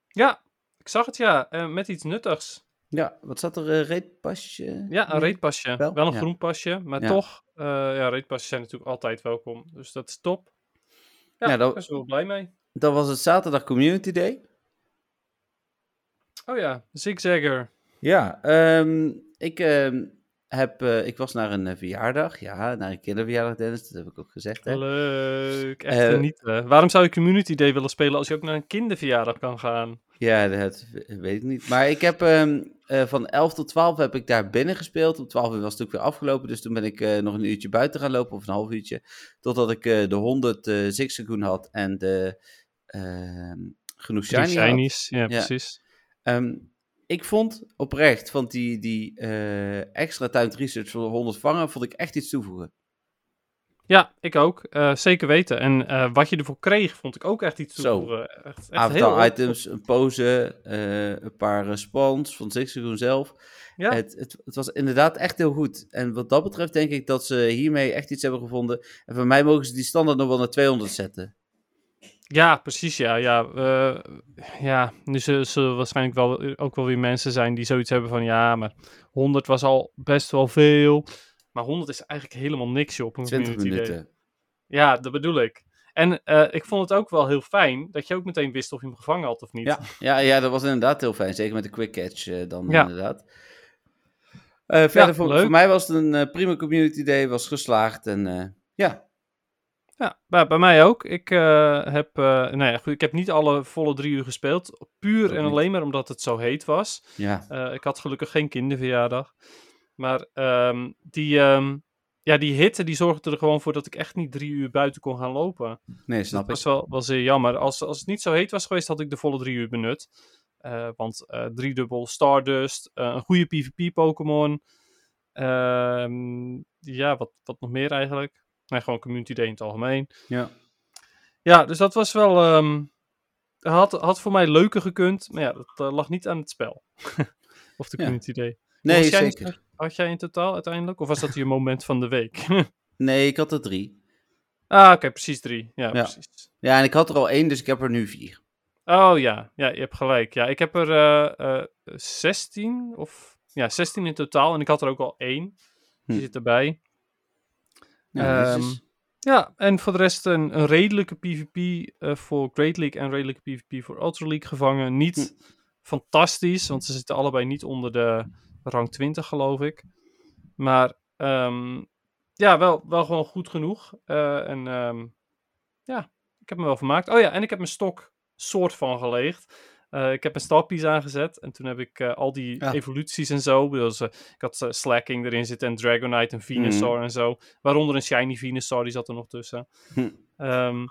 D: Ja, ik zag het ja. eh, met iets nuttigs.
C: Ja, wat zat er? eh reetpasje?
D: Ja, een reetpasje.
C: Wel,
D: Wel, een
C: ja.
D: groen pasje, maar
C: Ja.
D: toch. eh ja, reetpasjes zijn natuurlijk altijd welkom. Dus dat is top. Ja,
C: Ja,
D: daar
C: dat-
D: is wel blij mee.
C: Dan was het zaterdag Community Day.
D: Oh ja, Zigzagger.
C: Ja, ehm, ik ehm, heb, eh, ik was naar een eh, verjaardag. Ja, naar een kinderverjaardag, Dennis. Dat heb ik ook gezegd. Hè?
D: Leuk, echt
C: Eh,
D: genieten. Waarom zou je Community Day willen spelen als je ook naar een kinderverjaardag kan gaan?
C: Ja, dat weet ik niet. Maar ik heb ehm, eh, van 11 tot 12 heb ik daar binnen gespeeld. Om 12 uur was het ook weer afgelopen. Dus toen ben ik eh, nog een uurtje buiten gaan lopen. Of een half uurtje. Totdat ik eh, de 100 eh zigzagoen had. En de, ehm, genoeg shiny,
D: Die
C: had.
D: shinies, ja, precies.
C: Ehm, ik vond oprecht, want die, die eh, extra timed research van de 100 vangen, vond ik echt iets toevoegen.
D: Ja, ik ook. eh, zeker weten. En eh, wat je ervoor kreeg, vond ik ook echt iets
C: Zo.
D: toevoegen. Echt, echt
C: Aantal
D: heel-
C: items, een pose, eh, een paar eh, spawns van Zigzagoon zelf.
D: Ja.
C: Het, het, het was inderdaad echt heel goed. En wat dat betreft denk ik dat ze hiermee echt iets hebben gevonden. En voor mij mogen ze die standaard nog wel naar 200 zetten.
D: Ja, precies. Ja, ja. eh, ja. Nu zullen, zullen waarschijnlijk wel, ook wel weer mensen zijn die zoiets hebben van ja, maar 100 was al best wel veel. Maar 100 is eigenlijk helemaal niks joh, op een
C: 20
D: community day.
C: minuten.
D: Ja, dat bedoel ik. En eh, ik vond het ook wel heel fijn dat je ook meteen wist of je hem gevangen had of niet.
C: Ja, ja, ja, dat was inderdaad heel fijn. Zeker met de quick catch eh, dan
D: Ja.
C: inderdaad. Eh, verder,
D: Ja,
C: voor,
D: leuk.
C: voor mij was het een eh, prima community day. Was geslaagd en eh, ja,
D: Ja, bij, bij mij ook. Ik, eh, heb, eh, nou ja, goed, ik heb niet alle volle drie uur gespeeld. Puur
C: Ook
D: en
C: niet.
D: alleen maar omdat het zo heet was.
C: ja.
D: Eh, ik had gelukkig geen kinderverjaardag. Maar ehm, die, ehm, ja, die hitte die zorgde er gewoon voor dat ik echt niet drie uur buiten kon gaan lopen.
C: Nee,
D: Dus dat
C: snap ik.
D: was wel, wel zeer jammer. Als, als het niet zo heet was geweest, had ik de volle drie uur benut. Eh, want eh driedubbel Stardust, eh, een goede PvP-Pokémon. Ehm, ja, wat, wat nog meer eigenlijk. Nee, gewoon Community Day in het algemeen.
C: Ja.
D: Ja, dus dat was wel... ehm, had, had voor mij leuker gekund, maar ja, dat eh, lag niet aan het spel. of de
C: Ja.
D: Community Day.
C: Nee,
D: Hoeveel shinies
C: zeker.
D: Had jij in totaal uiteindelijk? Of was dat je moment van de week?
C: Nee, ik had er drie.
D: ah, oké, precies drie. Ja, precies.
C: Ja, en ik had er al één, dus ik heb er nu vier.
D: Oh ja, ja, je hebt gelijk. Ja, ik heb er eh, eh, 16 of... Ja, 16 in totaal. En ik had er ook al één. Die
C: Hm.
D: zit erbij.
C: Nou,
D: Ehm,
C: netjes.
D: Ja, en voor de rest een, een redelijke PvP eh, voor Great League en redelijke PvP voor Ultra League gevangen. Niet fantastisch, want ze zitten allebei niet onder de rang 20, geloof ik. Maar ehm, ja, wel, wel gewoon goed genoeg. Eh, en ehm, ja, ik heb me wel vermaakt. Oh ja, en ik heb mijn stok soort van geleegd. Eh, ik heb mijn starpiece aangezet en toen heb ik eh, al die
C: Ja.
D: evoluties en zo. Dus, eh, ik had eh, Slacking erin zitten en
C: Mhm.
D: Dragonite en Venusaur en zo. Waaronder een Shiny Venusaur, die zat er nog tussen.
C: Hm.
D: Ehm,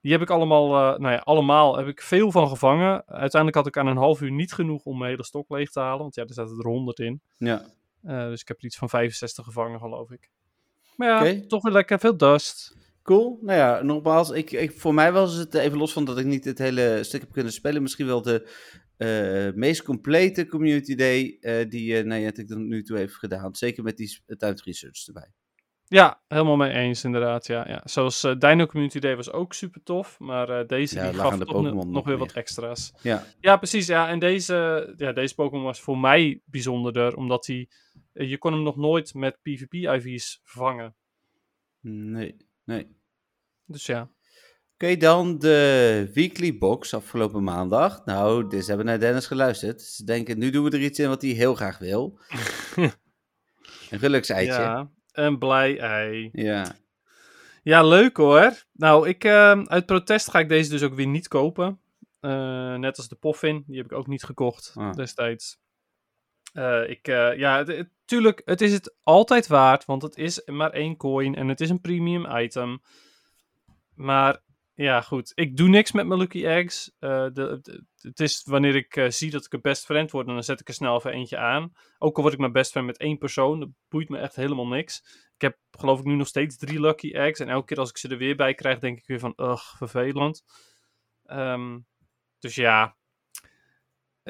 D: die heb ik allemaal, eh, nou ja, allemaal heb ik veel van gevangen. Uiteindelijk had ik aan een half uur niet genoeg om mijn hele stok leeg te halen. Want ja, er zaten er 100 in.
C: ja.
D: Eh, dus ik heb er iets van 65 gevangen, geloof ik. Maar ja,
C: Oké.
D: toch weer lekker veel dust.
C: Cool. Nou ja, nogmaals, ik, ik, voor mij was het eh, even los van dat ik niet het hele stuk heb kunnen spelen. Misschien wel de eh, meest complete community day eh, die eh nou ja, het ik tot nu toe heeft gedaan. Zeker met die tijd research erbij.
D: Ja, helemaal mee eens inderdaad. Ja, ja. Zoals eh, Dino Community Day was ook super tof. Maar eh, deze
C: Ja,
D: die
C: het lag
D: gaf
C: aan de
D: toch ne-
C: Pokémon
D: nog,
C: nog
D: weer
C: meer.
D: wat extra's.
C: Ja,
D: Ja, precies. Ja, en deze, ja, deze Pokémon was voor mij bijzonderder. Omdat hij, eh, je kon hem nog nooit met PvP-IV's vervangen.
C: nee, nee. Oké,
D: Dus ja.
C: dan de weekly box afgelopen maandag. Nou, dus hebben naar Dennis geluisterd. Ze denken, nu doen we er iets in wat hij heel graag wil. Een gelukseitje. Ja.
D: Ja, een blij ei.
C: ja.
D: Ja, leuk hoor. Nou, ik, ehm, uit protest ga ik deze dus ook weer niet kopen. Eh, net als de Poffin, die heb ik ook niet gekocht
C: Ah.
D: destijds. Eh, ik, eh, ja, het- het- tuurlijk, het is het altijd waard, want het is maar één coin en het is een premium item. Maar ja, goed, ik doe niks met mijn Lucky Eggs. Eh, de, de- het is wanneer ik eh, zie dat ik een best friend word, dan zet ik er snel even eentje aan. Ook al word ik mijn best friend met één persoon, dat boeit me echt helemaal niks. Ik heb geloof ik nu nog steeds drie lucky eggs. En elke keer als ik ze er weer bij krijg, denk ik weer van, ugh, vervelend. Ehm, dus ja.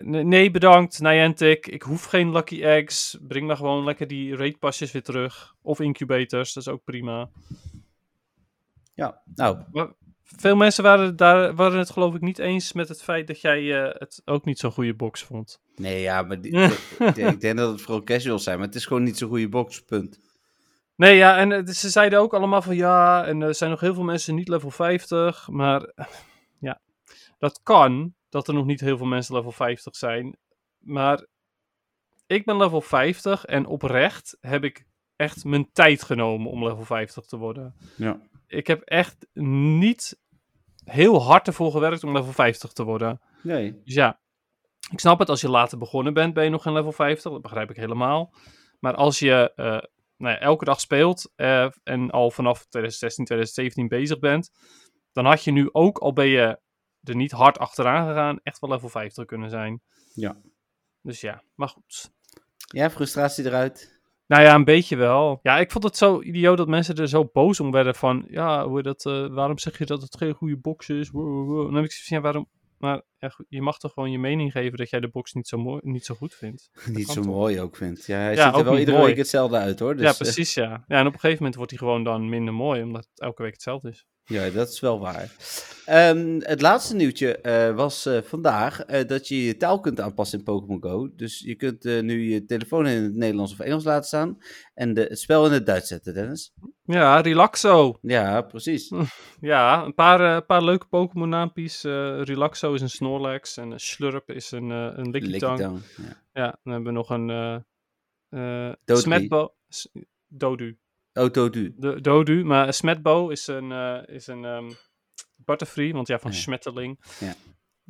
D: N- Nee, bedankt, Niantic. Ik hoef geen lucky eggs. Breng maar gewoon lekker die raid pasjes weer terug. Of incubators, dat is ook prima.
C: nou,
D: Veel mensen waren, het daar, waren het geloof ik niet eens met het feit dat jij eh, het ook niet zo'n goede box vond.
C: nee, ja, maar die, ik, ik denk dat het vooral casuals zijn. Maar het is gewoon niet zo'n goede box, punt.
D: Nee, ja, en eh, ze zeiden ook allemaal van ja, en eh, er zijn nog heel veel mensen niet level 50, maar eh, ja, dat kan, dat er nog niet heel veel mensen level 50 zijn, maar ik ben level 50 en oprecht heb ik echt mijn tijd genomen om level 50 te worden.
C: Ja.
D: Ik heb echt niet heel hard ervoor gewerkt om level 50 te worden.
C: Nee.
D: Dus ja, ik snap het, als je later begonnen bent, ben je nog geen level 50. Dat begrijp ik helemaal. Maar als je eh, nou ja, elke dag speelt eh, en al vanaf 2016, 2017 bezig bent, dan had je nu ook, al ben je er niet hard achteraan gegaan, echt wel level 50 kunnen zijn.
C: Ja.
D: Dus ja, maar goed.
C: Ja, frustratie eruit.
D: Nou ja, een beetje wel. Ja, ik vond het zo idioot dat mensen er zo boos om werden van... Ja, hoe dat, eh, waarom zeg je dat het geen goede box is? Wow, wow, wow. En dan heb ik zoiets van, ja, waarom... Maar ja, goed, je mag toch gewoon je mening geven dat jij de box niet zo, mooi, niet zo goed vindt?
C: Niet
D: kan
C: zo
D: toch?
C: mooi ook vindt. Ja, hij
D: Ja,
C: ziet er
D: ook
C: wel
D: niet
C: iedere
D: mooi.
C: week hetzelfde uit hoor. Dus,
D: ja,
C: eh,
D: precies, ja. ja. En op een gegeven moment wordt hij gewoon dan minder mooi, omdat het elke week hetzelfde is.
C: Ja, dat is wel waar. Ehm, het laatste nieuwtje eh, was eh, vandaag eh, dat je je taal kunt aanpassen in Pokémon Go. Dus je kunt eh, nu je telefoon in het Nederlands of Engels laten staan en de, het spel in het Duits zetten, Dennis.
D: Ja, Relaxo.
C: Ja,
D: Hm,
C: precies.
D: Ja, een paar, eh, paar leuke Pokémon naampies. eh, Relaxo is een Snorlax en eh, Slurp is een, eh een Lickitung.
C: Lickitang, Ja.
D: Ja, dan hebben we nog een... eh eh,
C: Doodly.
D: Smetbo... S- Dodu.
C: Autodu.
D: De, Dodu, maar een Smetbo is een, eh, is een ehm Butterfree, want ja, van
C: Oh Ja.
D: Smetteling.
C: Ja.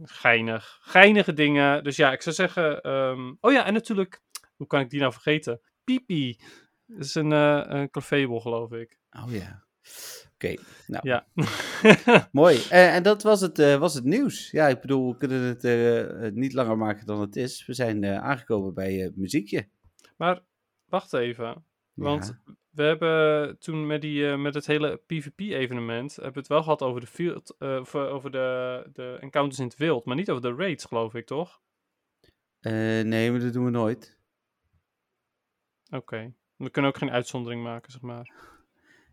D: Geinig. Geinige dingen. Dus ja, ik zou zeggen... ehm, oh ja, en natuurlijk... Hoe kan ik die nou vergeten? Pipi. Dat is een, eh een Clefable, geloof ik.
C: Oh ja. Oké, nou,
D: Ja.
C: mooi. Eh, en dat was het, eh, was het nieuws. Ja, ik bedoel, we kunnen het eh, eh, niet langer maken dan het is. We zijn eh, aangekomen bij eh, muziekje.
D: maar wacht even. Want
C: Ja.
D: we hebben toen met, die, eh, met het hele PvP-evenement... hebben we het wel gehad over de, field, eh, of, eh, over de, de encounters in het wild. Maar niet over de raids, geloof ik, toch?
C: Eh, nee, maar dat doen we nooit.
D: Oké. We kunnen ook geen uitzondering maken, zeg maar.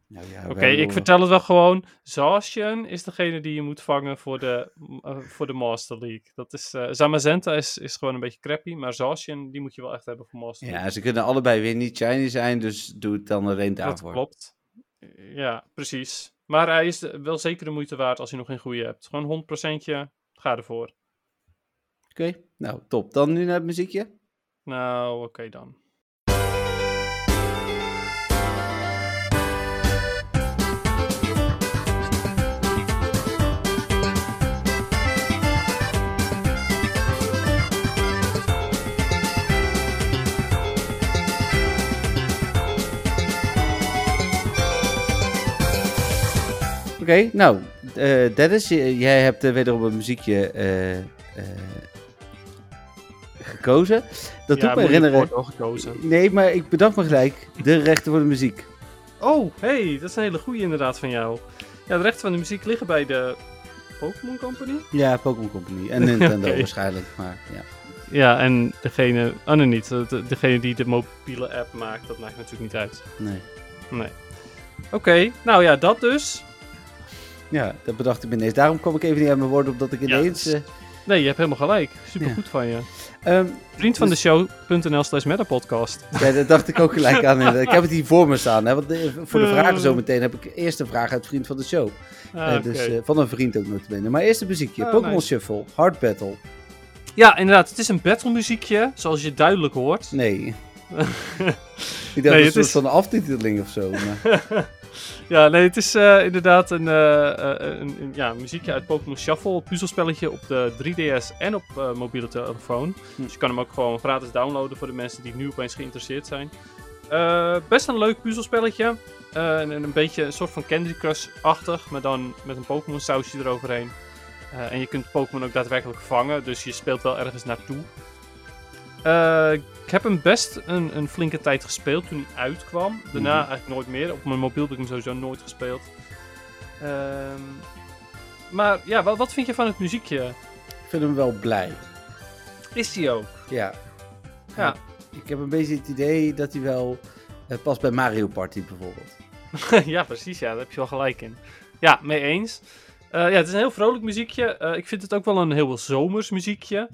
C: Nou ja,
D: Oké,
C: wij
D: ik
C: horen-
D: vertel het wel gewoon. Zacian is degene die je moet vangen voor de, eh, voor de Master League. Dat is, eh, Zamazenta is, is gewoon een beetje crappy, maar Zacian die moet je wel echt hebben voor Master League.
C: Ja, ze kunnen allebei weer niet shiny zijn, dus doe het dan alleen
D: dat
C: daarvoor.
D: klopt. Ja, precies. Maar hij is de- wel zeker de moeite waard als je nog geen goede hebt. Gewoon 100%je, ga ervoor.
C: Oké, nou top. Dan nu naar het muziekje.
D: Nou, oké dan.
C: Oké, nou eh, Dennis, j- jij hebt eh, wederom een muziekje eh, eh, gekozen. Dat doet me herinneren.
D: gekozen.
C: Nee, maar ik bedacht me gelijk de rechten voor de muziek.
D: Oh, hey, dat is een hele goede inderdaad van jou. Ja, de rechten van de muziek liggen bij de Pokémon Company.
C: Ja, Pokémon Company en Nintendo
D: Oké.
C: waarschijnlijk, maar ja.
D: Ja, en degene. Oh nee, niet. De- de- Degene die de mobiele app maakt, dat maakt natuurlijk niet uit.
C: Nee.
D: Nee. Oké, nou ja, dat dus.
C: Ja, dat bedacht ik me ineens. Daarom kwam ik even niet aan mijn woorden, omdat ik
D: Ja,
C: ineens...
D: dat
C: eh
D: is- Nee, je hebt helemaal gelijk. Supergoed van je.
C: ehm,
D: Vriend van de
C: Dus-
D: show.nl slash metapodcast.
C: Ja, dat dacht ik ook gelijk aan. Ik heb het hier voor me staan. Hè, want eh, voor de
D: Eh.
C: vragen zometeen heb ik eerst een vraag uit Vriend van de Show.
D: Ah,
C: Eh,
D: oké.
C: dus, eh, van een vriend ook nog Maar eerst een muziekje.
D: Ah,
C: Pokémon
D: nice.
C: Shuffle, Hard Battle.
D: Ja, inderdaad. Het is een battle muziekje, zoals je duidelijk hoort.
C: Nee. ik dacht
D: het
C: een soort
D: is-
C: van aftiteling of zo. Maar...
D: ja, nee, het is eh, inderdaad een, eh, eh, een, een- ja, muziekje uit Pokémon Shuffle. Puzzelspelletje op de 3DS en op eh, mobiele telefoon.
C: Hm.
D: Dus je kan hem ook gewoon gratis downloaden voor de mensen die nu opeens geïnteresseerd zijn. Eh, best een leuk puzzelspelletje. Eh, en, en een beetje een soort van Candy Crush-achtig, maar dan met een Pokémon sausje eroverheen. Eh, en je kunt Pokémon ook daadwerkelijk vangen, dus je speelt wel ergens naartoe. Eh, ik heb hem best een, een flinke tijd gespeeld toen hij uitkwam. Daarna
C: Mhm.
D: eigenlijk nooit meer. Op mijn mobiel heb ik hem sowieso nooit gespeeld. Ehm, maar ja, wat, wat vind je van het muziekje?
C: ik vind hem wel blij.
D: Is die ook?
C: Ja.
D: Ja.
C: Ik heb een beetje het idee dat hij wel eh, past bij Mario Party bijvoorbeeld.
D: ja, precies. Ja, daar heb je wel gelijk in. Ja, mee eens. Eh, ja, het is een heel vrolijk muziekje. Eh, ik vind het ook wel een heel zomers muziekje.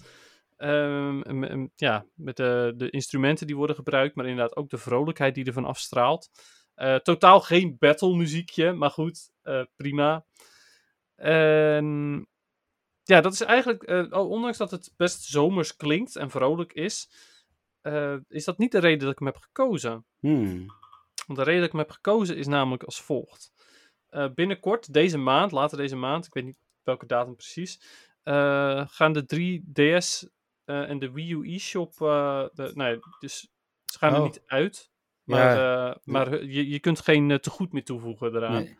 D: Ehm, m- m- ja, met de, de instrumenten die worden gebruikt, maar inderdaad ook de vrolijkheid die ervan afstraalt. Eh, totaal geen battle muziekje, maar goed, eh, prima. En oh, ja, dat is eigenlijk, eh, ondanks dat het best zomers klinkt en vrolijk is, eh, is dat niet de reden dat ik hem heb gekozen.
C: Hmm.
D: Want de reden dat ik hem heb gekozen is namelijk als volgt. Eh, binnenkort, deze maand, later deze maand, ik weet niet welke datum precies, eh, gaan de 3DS eh, en de Wii U e-shop, eh, de- nee, dus ze gaan er
C: Oh.
D: niet uit. Maar, eh, maar hu- je, je kunt geen eh, tegoed meer toevoegen eraan.
C: Nee.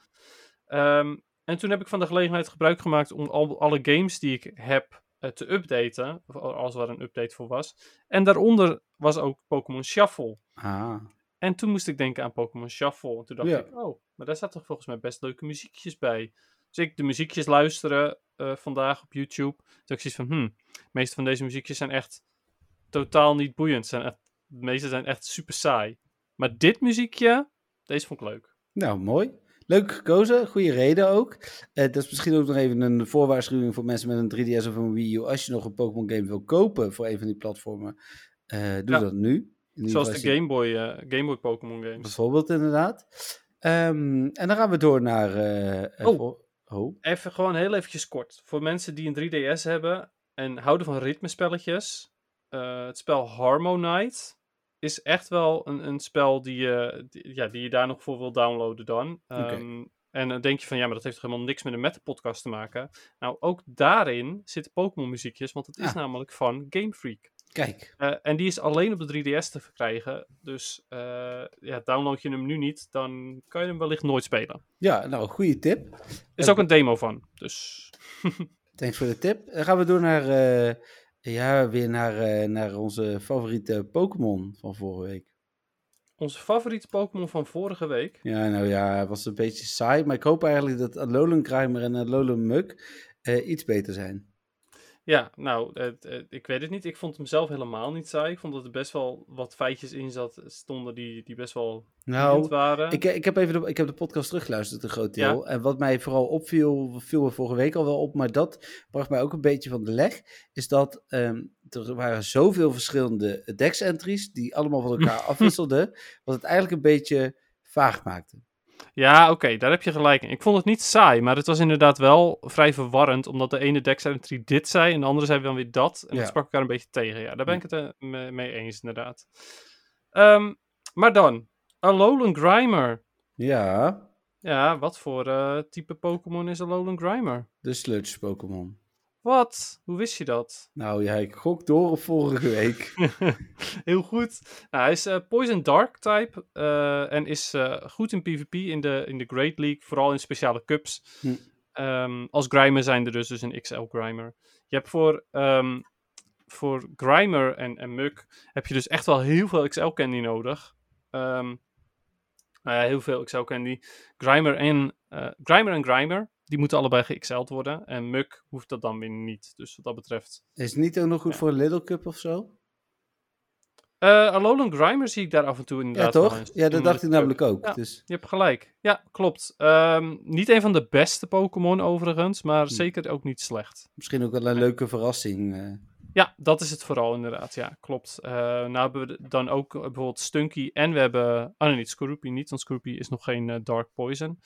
D: Ehm, en toen heb ik van de gelegenheid gebruik gemaakt om al, alle games die ik heb eh, te updaten. Of al- als er een update voor was. En daaronder was ook Pokémon Shuffle.
C: Ah.
D: En toen moest ik denken aan Pokémon Shuffle. En toen dacht
C: Ja.
D: ik, oh, maar daar zaten volgens mij best leuke muziekjes bij. Dus ik de muziekjes luisteren eh, vandaag op YouTube. Toen had ik zoiets van, hmm, de meeste van deze muziekjes zijn echt totaal niet boeiend. Zijn echt, de meeste zijn echt super saai. Maar dit muziekje, deze vond ik leuk.
C: Nou, mooi. Leuk gekozen, goede reden ook. Eh, dat is misschien ook nog even een voorwaarschuwing voor mensen met een 3DS of een Wii U. Als je nog een Pokémon game wil kopen voor een van die platformen, eh, doe
D: Ja.
C: dat nu. In ieder geval
D: Zoals
C: als
D: de
C: je-
D: Game Boy, eh, Game Boy Pokémon games.
C: Bijvoorbeeld, inderdaad. Ehm, en dan gaan we door naar... eh, eh,
D: Oh.
C: vol- oh.
D: Even gewoon heel eventjes kort. Voor mensen die een 3DS hebben en houden van ritmespelletjes. eh, het spel Harmonite is echt wel een, een spel die je, die- ja, die je daar nog voor wil downloaden dan.
C: Oké.
D: Ehm, En dan denk je van, ja, maar dat heeft toch helemaal niks met de Meta podcast te maken. Nou, ook daarin zitten Pokémon muziekjes, want het is
C: Ah.
D: namelijk van Game Freak.
C: Kijk,
D: Eh, en die is alleen op de 3DS te verkrijgen. Dus eh, ja, download je hem nu niet, dan kan je hem wellicht nooit spelen.
C: ja, nou, goede tip.
D: Er is
C: Eh,
D: ook een demo van. Dus
C: Thanks voor de tip. Dan gaan we door naar, eh, ja, weer naar, eh, naar onze favoriete Pokémon van vorige week.
D: onze favoriete Pokémon van vorige week.
C: Ja, nou ja, het was een beetje saai. Maar ik hoop eigenlijk dat Alolan-Grimer en Alolan-Muk eh, iets beter zijn.
D: Ja, nou, het- het- ik weet het niet. Ik vond hem zelf helemaal niet saai. Ik vond dat er best wel wat feitjes in zat, stonden die, die best wel boeiend
C: Nou,
D: waren.
C: ik, ik heb even de, ik heb de podcast teruggeluisterd, een groot
D: Ja.
C: deel. En wat mij vooral opviel, viel me vorige week al wel op, maar dat bracht mij ook een beetje van de leg, is dat ehm, er waren zoveel verschillende dex-entries die allemaal van elkaar afwisselden, wat het eigenlijk een beetje vaag maakte.
D: Ja, oké, daar heb je gelijk in. Ik vond het niet saai, maar het was inderdaad wel vrij verwarrend. Omdat de ene deck-entry dit zei en de andere zei dan weer dat. En
C: Ja.
D: dat sprak elkaar een beetje tegen. Ja, daar ben ik het eh, me- mee eens, inderdaad. Ehm, maar dan, Alolan Grimer.
C: Ja,
D: Ja, wat voor eh, type Pokémon is Alolan Grimer?
C: de sludge-Pokémon.
D: Wat? Hoe wist je dat?
C: Nou ja, ik gok door op vorige week.
D: Heel goed. Nou, hij is eh, Poison Dark type eh, en is eh, goed in PvP in de, in de Great League, vooral in speciale cups.
C: Hm.
D: Ehm, als Grimer zijn er dus, dus een XL Grimer. Je hebt voor, ehm, voor Grimer en, en Muk heb je dus echt wel heel veel XL candy nodig. Ehm, nou ja, heel veel XL candy. Grimer en, eh, Grimer en Grimer, die moeten allebei ge-XL'd worden. En Muk hoeft dat dan weer niet. Dus wat dat betreft
C: Is het niet ook nog goed voor een Little Cup of zo?
D: Eh Alolan Grimer zie ik daar af en toe
C: Ja,
D: inderdaad wel
C: toch?
D: eens.
C: Ja, dat
D: Toen
C: dacht ik namelijk ook.
D: Ja.
C: Dus,
D: Je hebt gelijk. Ja, klopt. Ehm, niet een van de beste Pokémon overigens, maar
C: Hm.
D: zeker ook niet slecht.
C: Misschien ook wel een leuke verrassing. eh.
D: Ja, dat is het vooral inderdaad. Ja, klopt. Eh nou hebben we de- dan ook eh, bijvoorbeeld Stunky en we hebben... Ah nee, niet Scoopy niet, want Scoopy is nog geen eh, Dark Poison.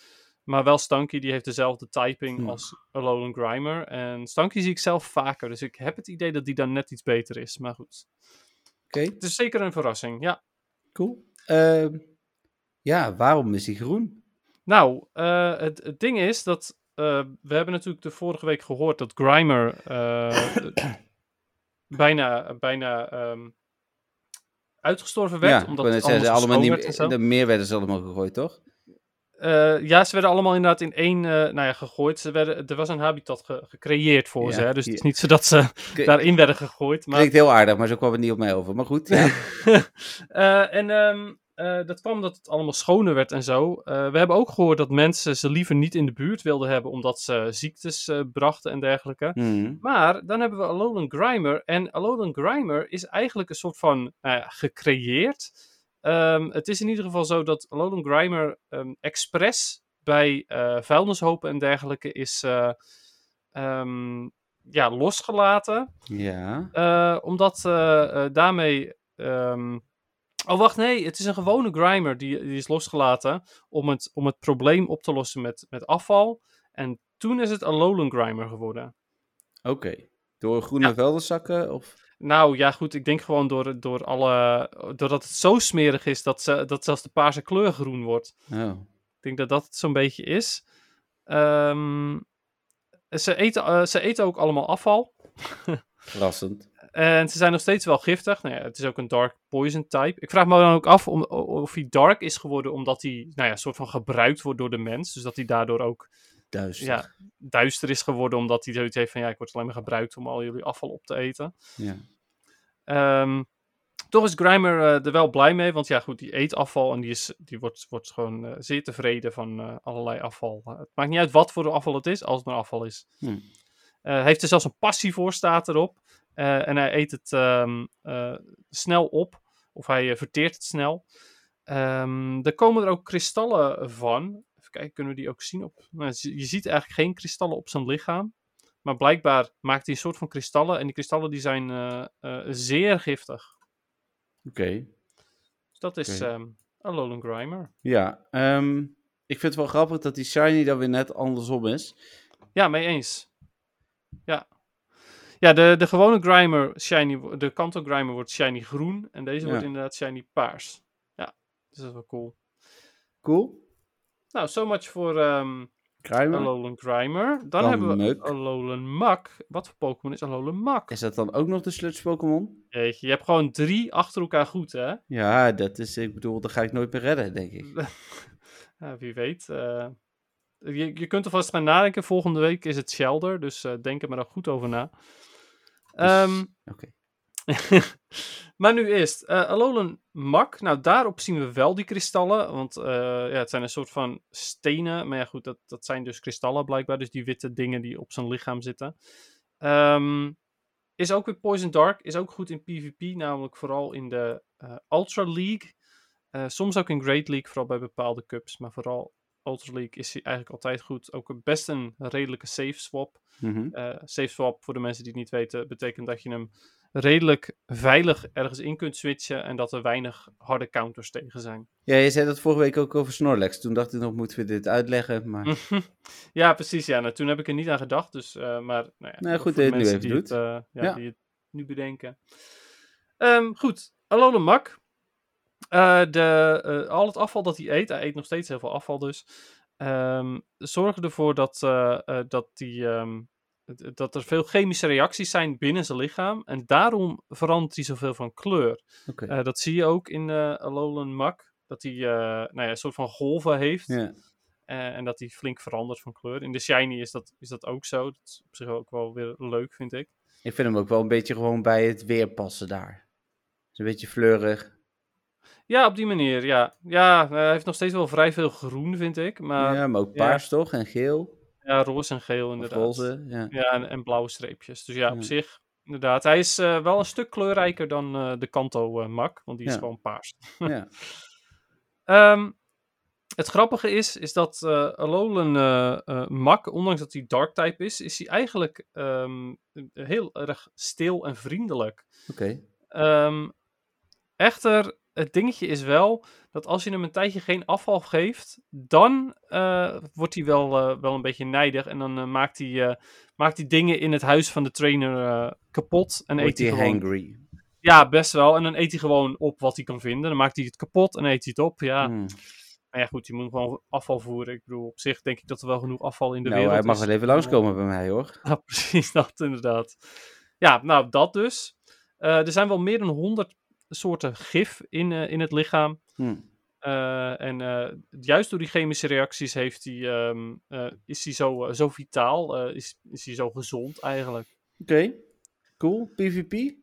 D: Maar wel Stunky, die heeft dezelfde typing
C: Ja.
D: als Alolan Grimer. En Stunky zie ik zelf vaker, dus ik heb het idee dat die dan net iets beter is. Maar goed,
C: Oké,
D: het is zeker een verrassing, ja.
C: cool. Ehm, ja, waarom is hij groen?
D: Nou, eh, het, het ding is dat eh, we hebben natuurlijk de vorige week gehoord dat Grimer eh, eh, bijna, bijna ehm, uitgestorven werd.
C: ja,
D: omdat
C: ik wou
D: het
C: net zeggen,
D: allemaal zo
C: allemaal niet,
D: schoon werd en zo.
C: de meer werden ze allemaal gegooid, toch?
D: Eh, ja, ze werden allemaal inderdaad in één eh, nou ja, gegooid. Ze werden, er was een habitat ge- gecreëerd voor
C: Ja,
D: ze. Hè? Dus het
C: hier.
D: is niet zo dat ze
C: Klinkt-
D: daarin werden gegooid. Maar
C: Klinkt heel aardig, maar zo kwam het niet op mij over. Maar goed, ja.
D: Eh, en ehm, eh, dat kwam omdat het allemaal schoner werd en zo. Eh, we hebben ook gehoord dat mensen ze liever niet in de buurt wilden hebben omdat ze ziektes eh, brachten en dergelijke.
C: Hmm.
D: Maar dan hebben we Alolan Grimer. En Alolan Grimer is eigenlijk een soort van nou ja, gecreëerd. Ehm, het is in ieder geval zo dat Alolan Grimer ehm, expres bij eh, vuilnishopen en dergelijke is eh, ehm, ja, losgelaten.
C: ja.
D: Eh, omdat eh, eh, daarmee. ehm, Oh, wacht, nee. Het is een gewone Grimer die, die is losgelaten. Om het, om het probleem op te lossen met, met afval. En toen is het Alolan Grimer geworden.
C: Oké. Door groene
D: Ja.
C: vuilniszakken? Of...
D: Nou ja, goed. Ik denk gewoon door, door alle, doordat het zo smerig is dat, ze, dat zelfs de paarse kleur groen wordt.
C: Oh.
D: Ik denk dat dat het zo'n beetje is. Ehm, ze, eten, eh, ze eten ook allemaal afval.
C: Verrassend.
D: En ze zijn nog steeds wel giftig. Nou ja, het is ook een dark poison type. Ik vraag me dan ook af om, o- of hij dark is geworden omdat hij, nou ja, soort van gebruikt wordt door de mens. Dus dat hij daardoor ook
C: Duister.
D: ja, duister is geworden omdat hij zoiets heeft van, ja, ik word alleen maar gebruikt om al jullie afval op te eten.
C: Ja.
D: Ehm, toch is Grimer eh, er wel blij mee, want ja, goed, die eet afval en die, is, die wordt, wordt gewoon eh, zeer tevreden van eh, allerlei afval. Eh, het maakt niet uit wat voor afval het is, als het maar afval is.
C: Hm.
D: Eh, Hij heeft er zelfs een passie voor, staat erop. Eh, en hij eet het ehm, eh, snel op, of hij eh, verteert het snel. Ehm, er komen er ook kristallen van. Even kijken, kunnen we die ook zien? Op... Nou, je je ziet eigenlijk geen kristallen op zijn lichaam. Maar blijkbaar maakt hij een soort van kristallen. En die kristallen die zijn eh, eh, zeer giftig.
C: Oké.
D: Dus dat is
C: Oké.
D: ehm Alolan Grimer.
C: Ja. ehm, ik vind het wel grappig dat die shiny dan weer net andersom is.
D: Ja, mee eens. Ja. Ja, de, de gewone Grimer, shiny, wo- de Kanto Grimer wordt shiny groen. En deze
C: Ja.
D: wordt inderdaad shiny paars. Ja, dus dat is wel cool.
C: Cool.
D: Nou, so much voor ehm
C: Kruimer.
D: Alolan Grimer. Dan,
C: Dan
D: hebben we
C: Muk.
D: Alolan Mak. Wat voor Pokémon is Alolan Mak?
C: Is dat dan ook nog de sludge Pokémon?
D: Jeetje, je hebt gewoon drie achter elkaar goed, hè?
C: Ja, dat is... Ik bedoel, dat ga ik nooit meer redden, denk ik.
D: Ja, wie weet. eh, je, je kunt er vast gaan nadenken. Volgende week is het Shelder, dus eh, denk er maar dan goed over na. Ehm,
C: Oké.
D: maar nu eerst, eh Alolan Mak. Nou, daarop zien we wel die kristallen. Want eh, ja, het zijn een soort van stenen. Maar ja, goed, dat, dat zijn dus kristallen blijkbaar. Dus die witte dingen die op zijn lichaam zitten. Ehm, is ook weer Poison Dark. Is ook goed in PvP. Namelijk vooral in de eh, Ultra League. Eh, soms ook in Great League, vooral bij bepaalde cups. Maar vooral Ultra League is hij eigenlijk altijd goed. Ook best een redelijke safe swap.
C: Mhm.
D: Eh, safe swap, voor de mensen die het niet weten, betekent dat je hem redelijk veilig ergens in kunt switchen en dat er weinig harde counters tegen zijn.
C: Ja, je zei dat vorige week ook over Snorlax. Toen dacht ik nog, moeten we dit uitleggen?
D: Hm.
C: Maar
D: ja, precies. Ja, nou, toen heb ik er niet aan gedacht, dus, eh, maar nou ja,
C: Nou, goed
D: voor
C: dat je
D: de
C: het nu
D: mensen
C: even
D: die
C: doet.
D: Het, eh, ja,
C: Ja.
D: die het nu bedenken. Ehm, goed, Alolan Mak. Eh, de, eh, al het afval dat hij eet, hij eet nog steeds heel veel afval dus, ehm, zorgen ervoor dat, eh, eh, dat, die, ehm, d- dat er veel chemische reacties zijn binnen zijn lichaam. En daarom verandert hij zoveel van kleur.
C: oké.
D: Eh, dat zie je ook in eh Alolan Mak. Dat hij eh, nou ja, een soort van golven heeft.
C: ja.
D: eh, en dat hij flink verandert van kleur. In de Shiny is dat, is dat ook zo. Dat is op zich ook wel weer leuk, vind ik.
C: Ik vind hem ook wel een beetje gewoon bij het weer passen daar. Is een beetje fleurig.
D: Ja, op die manier, ja. Ja, eh, hij heeft nog steeds wel vrij veel groen, vind ik. Maar ja,
C: ja, maar ook
D: ja.
C: paars toch? En geel?
D: roze en geel
C: Of
D: inderdaad.
C: roze? Ja.
D: Ja, en, en blauwe streepjes. Dus ja, op
C: Ja.
D: zich, inderdaad. Hij is eh, wel een stuk kleurrijker dan eh, de Kanto eh, Mak. Want die is
C: Ja.
D: gewoon paars.
C: ja.
D: Ehm, het grappige is, is dat eh Alolan eh, eh, Mak, ondanks dat hij Dark type is, is hij eigenlijk ehm, heel erg stil en vriendelijk.
C: Oké.
D: Ehm, echter, het dingetje is wel dat als je hem een tijdje geen afval geeft, dan eh, wordt hij wel, eh, wel een beetje neidig. En dan eh, maakt, hij, eh, maakt hij dingen in het huis van de trainer eh, kapot. En
C: Wordt
D: eet hij
C: hij
D: gewoon
C: hangry?
D: ja, best wel. En dan eet hij gewoon op wat hij kan vinden. Dan maakt hij het kapot en eet hij het op. Ja.
C: Hmm.
D: Maar ja, goed, je moet gewoon afval voeren. Ik bedoel, op zich denk ik dat er wel genoeg afval in de
C: Nou,
D: wereld
C: hij
D: is.
C: mag wel even langskomen bij mij hoor.
D: Ja, precies dat, inderdaad. Ja, nou, dat dus. Eh, er zijn wel meer dan 100 soorten gif in, eh, in het lichaam.
C: Hm.
D: Eh, en eh, juist door die chemische reacties heeft hij, ehm, eh, is hij zo, eh, zo vitaal, eh, is, is hij zo gezond eigenlijk.
C: Oké. Cool. PvP?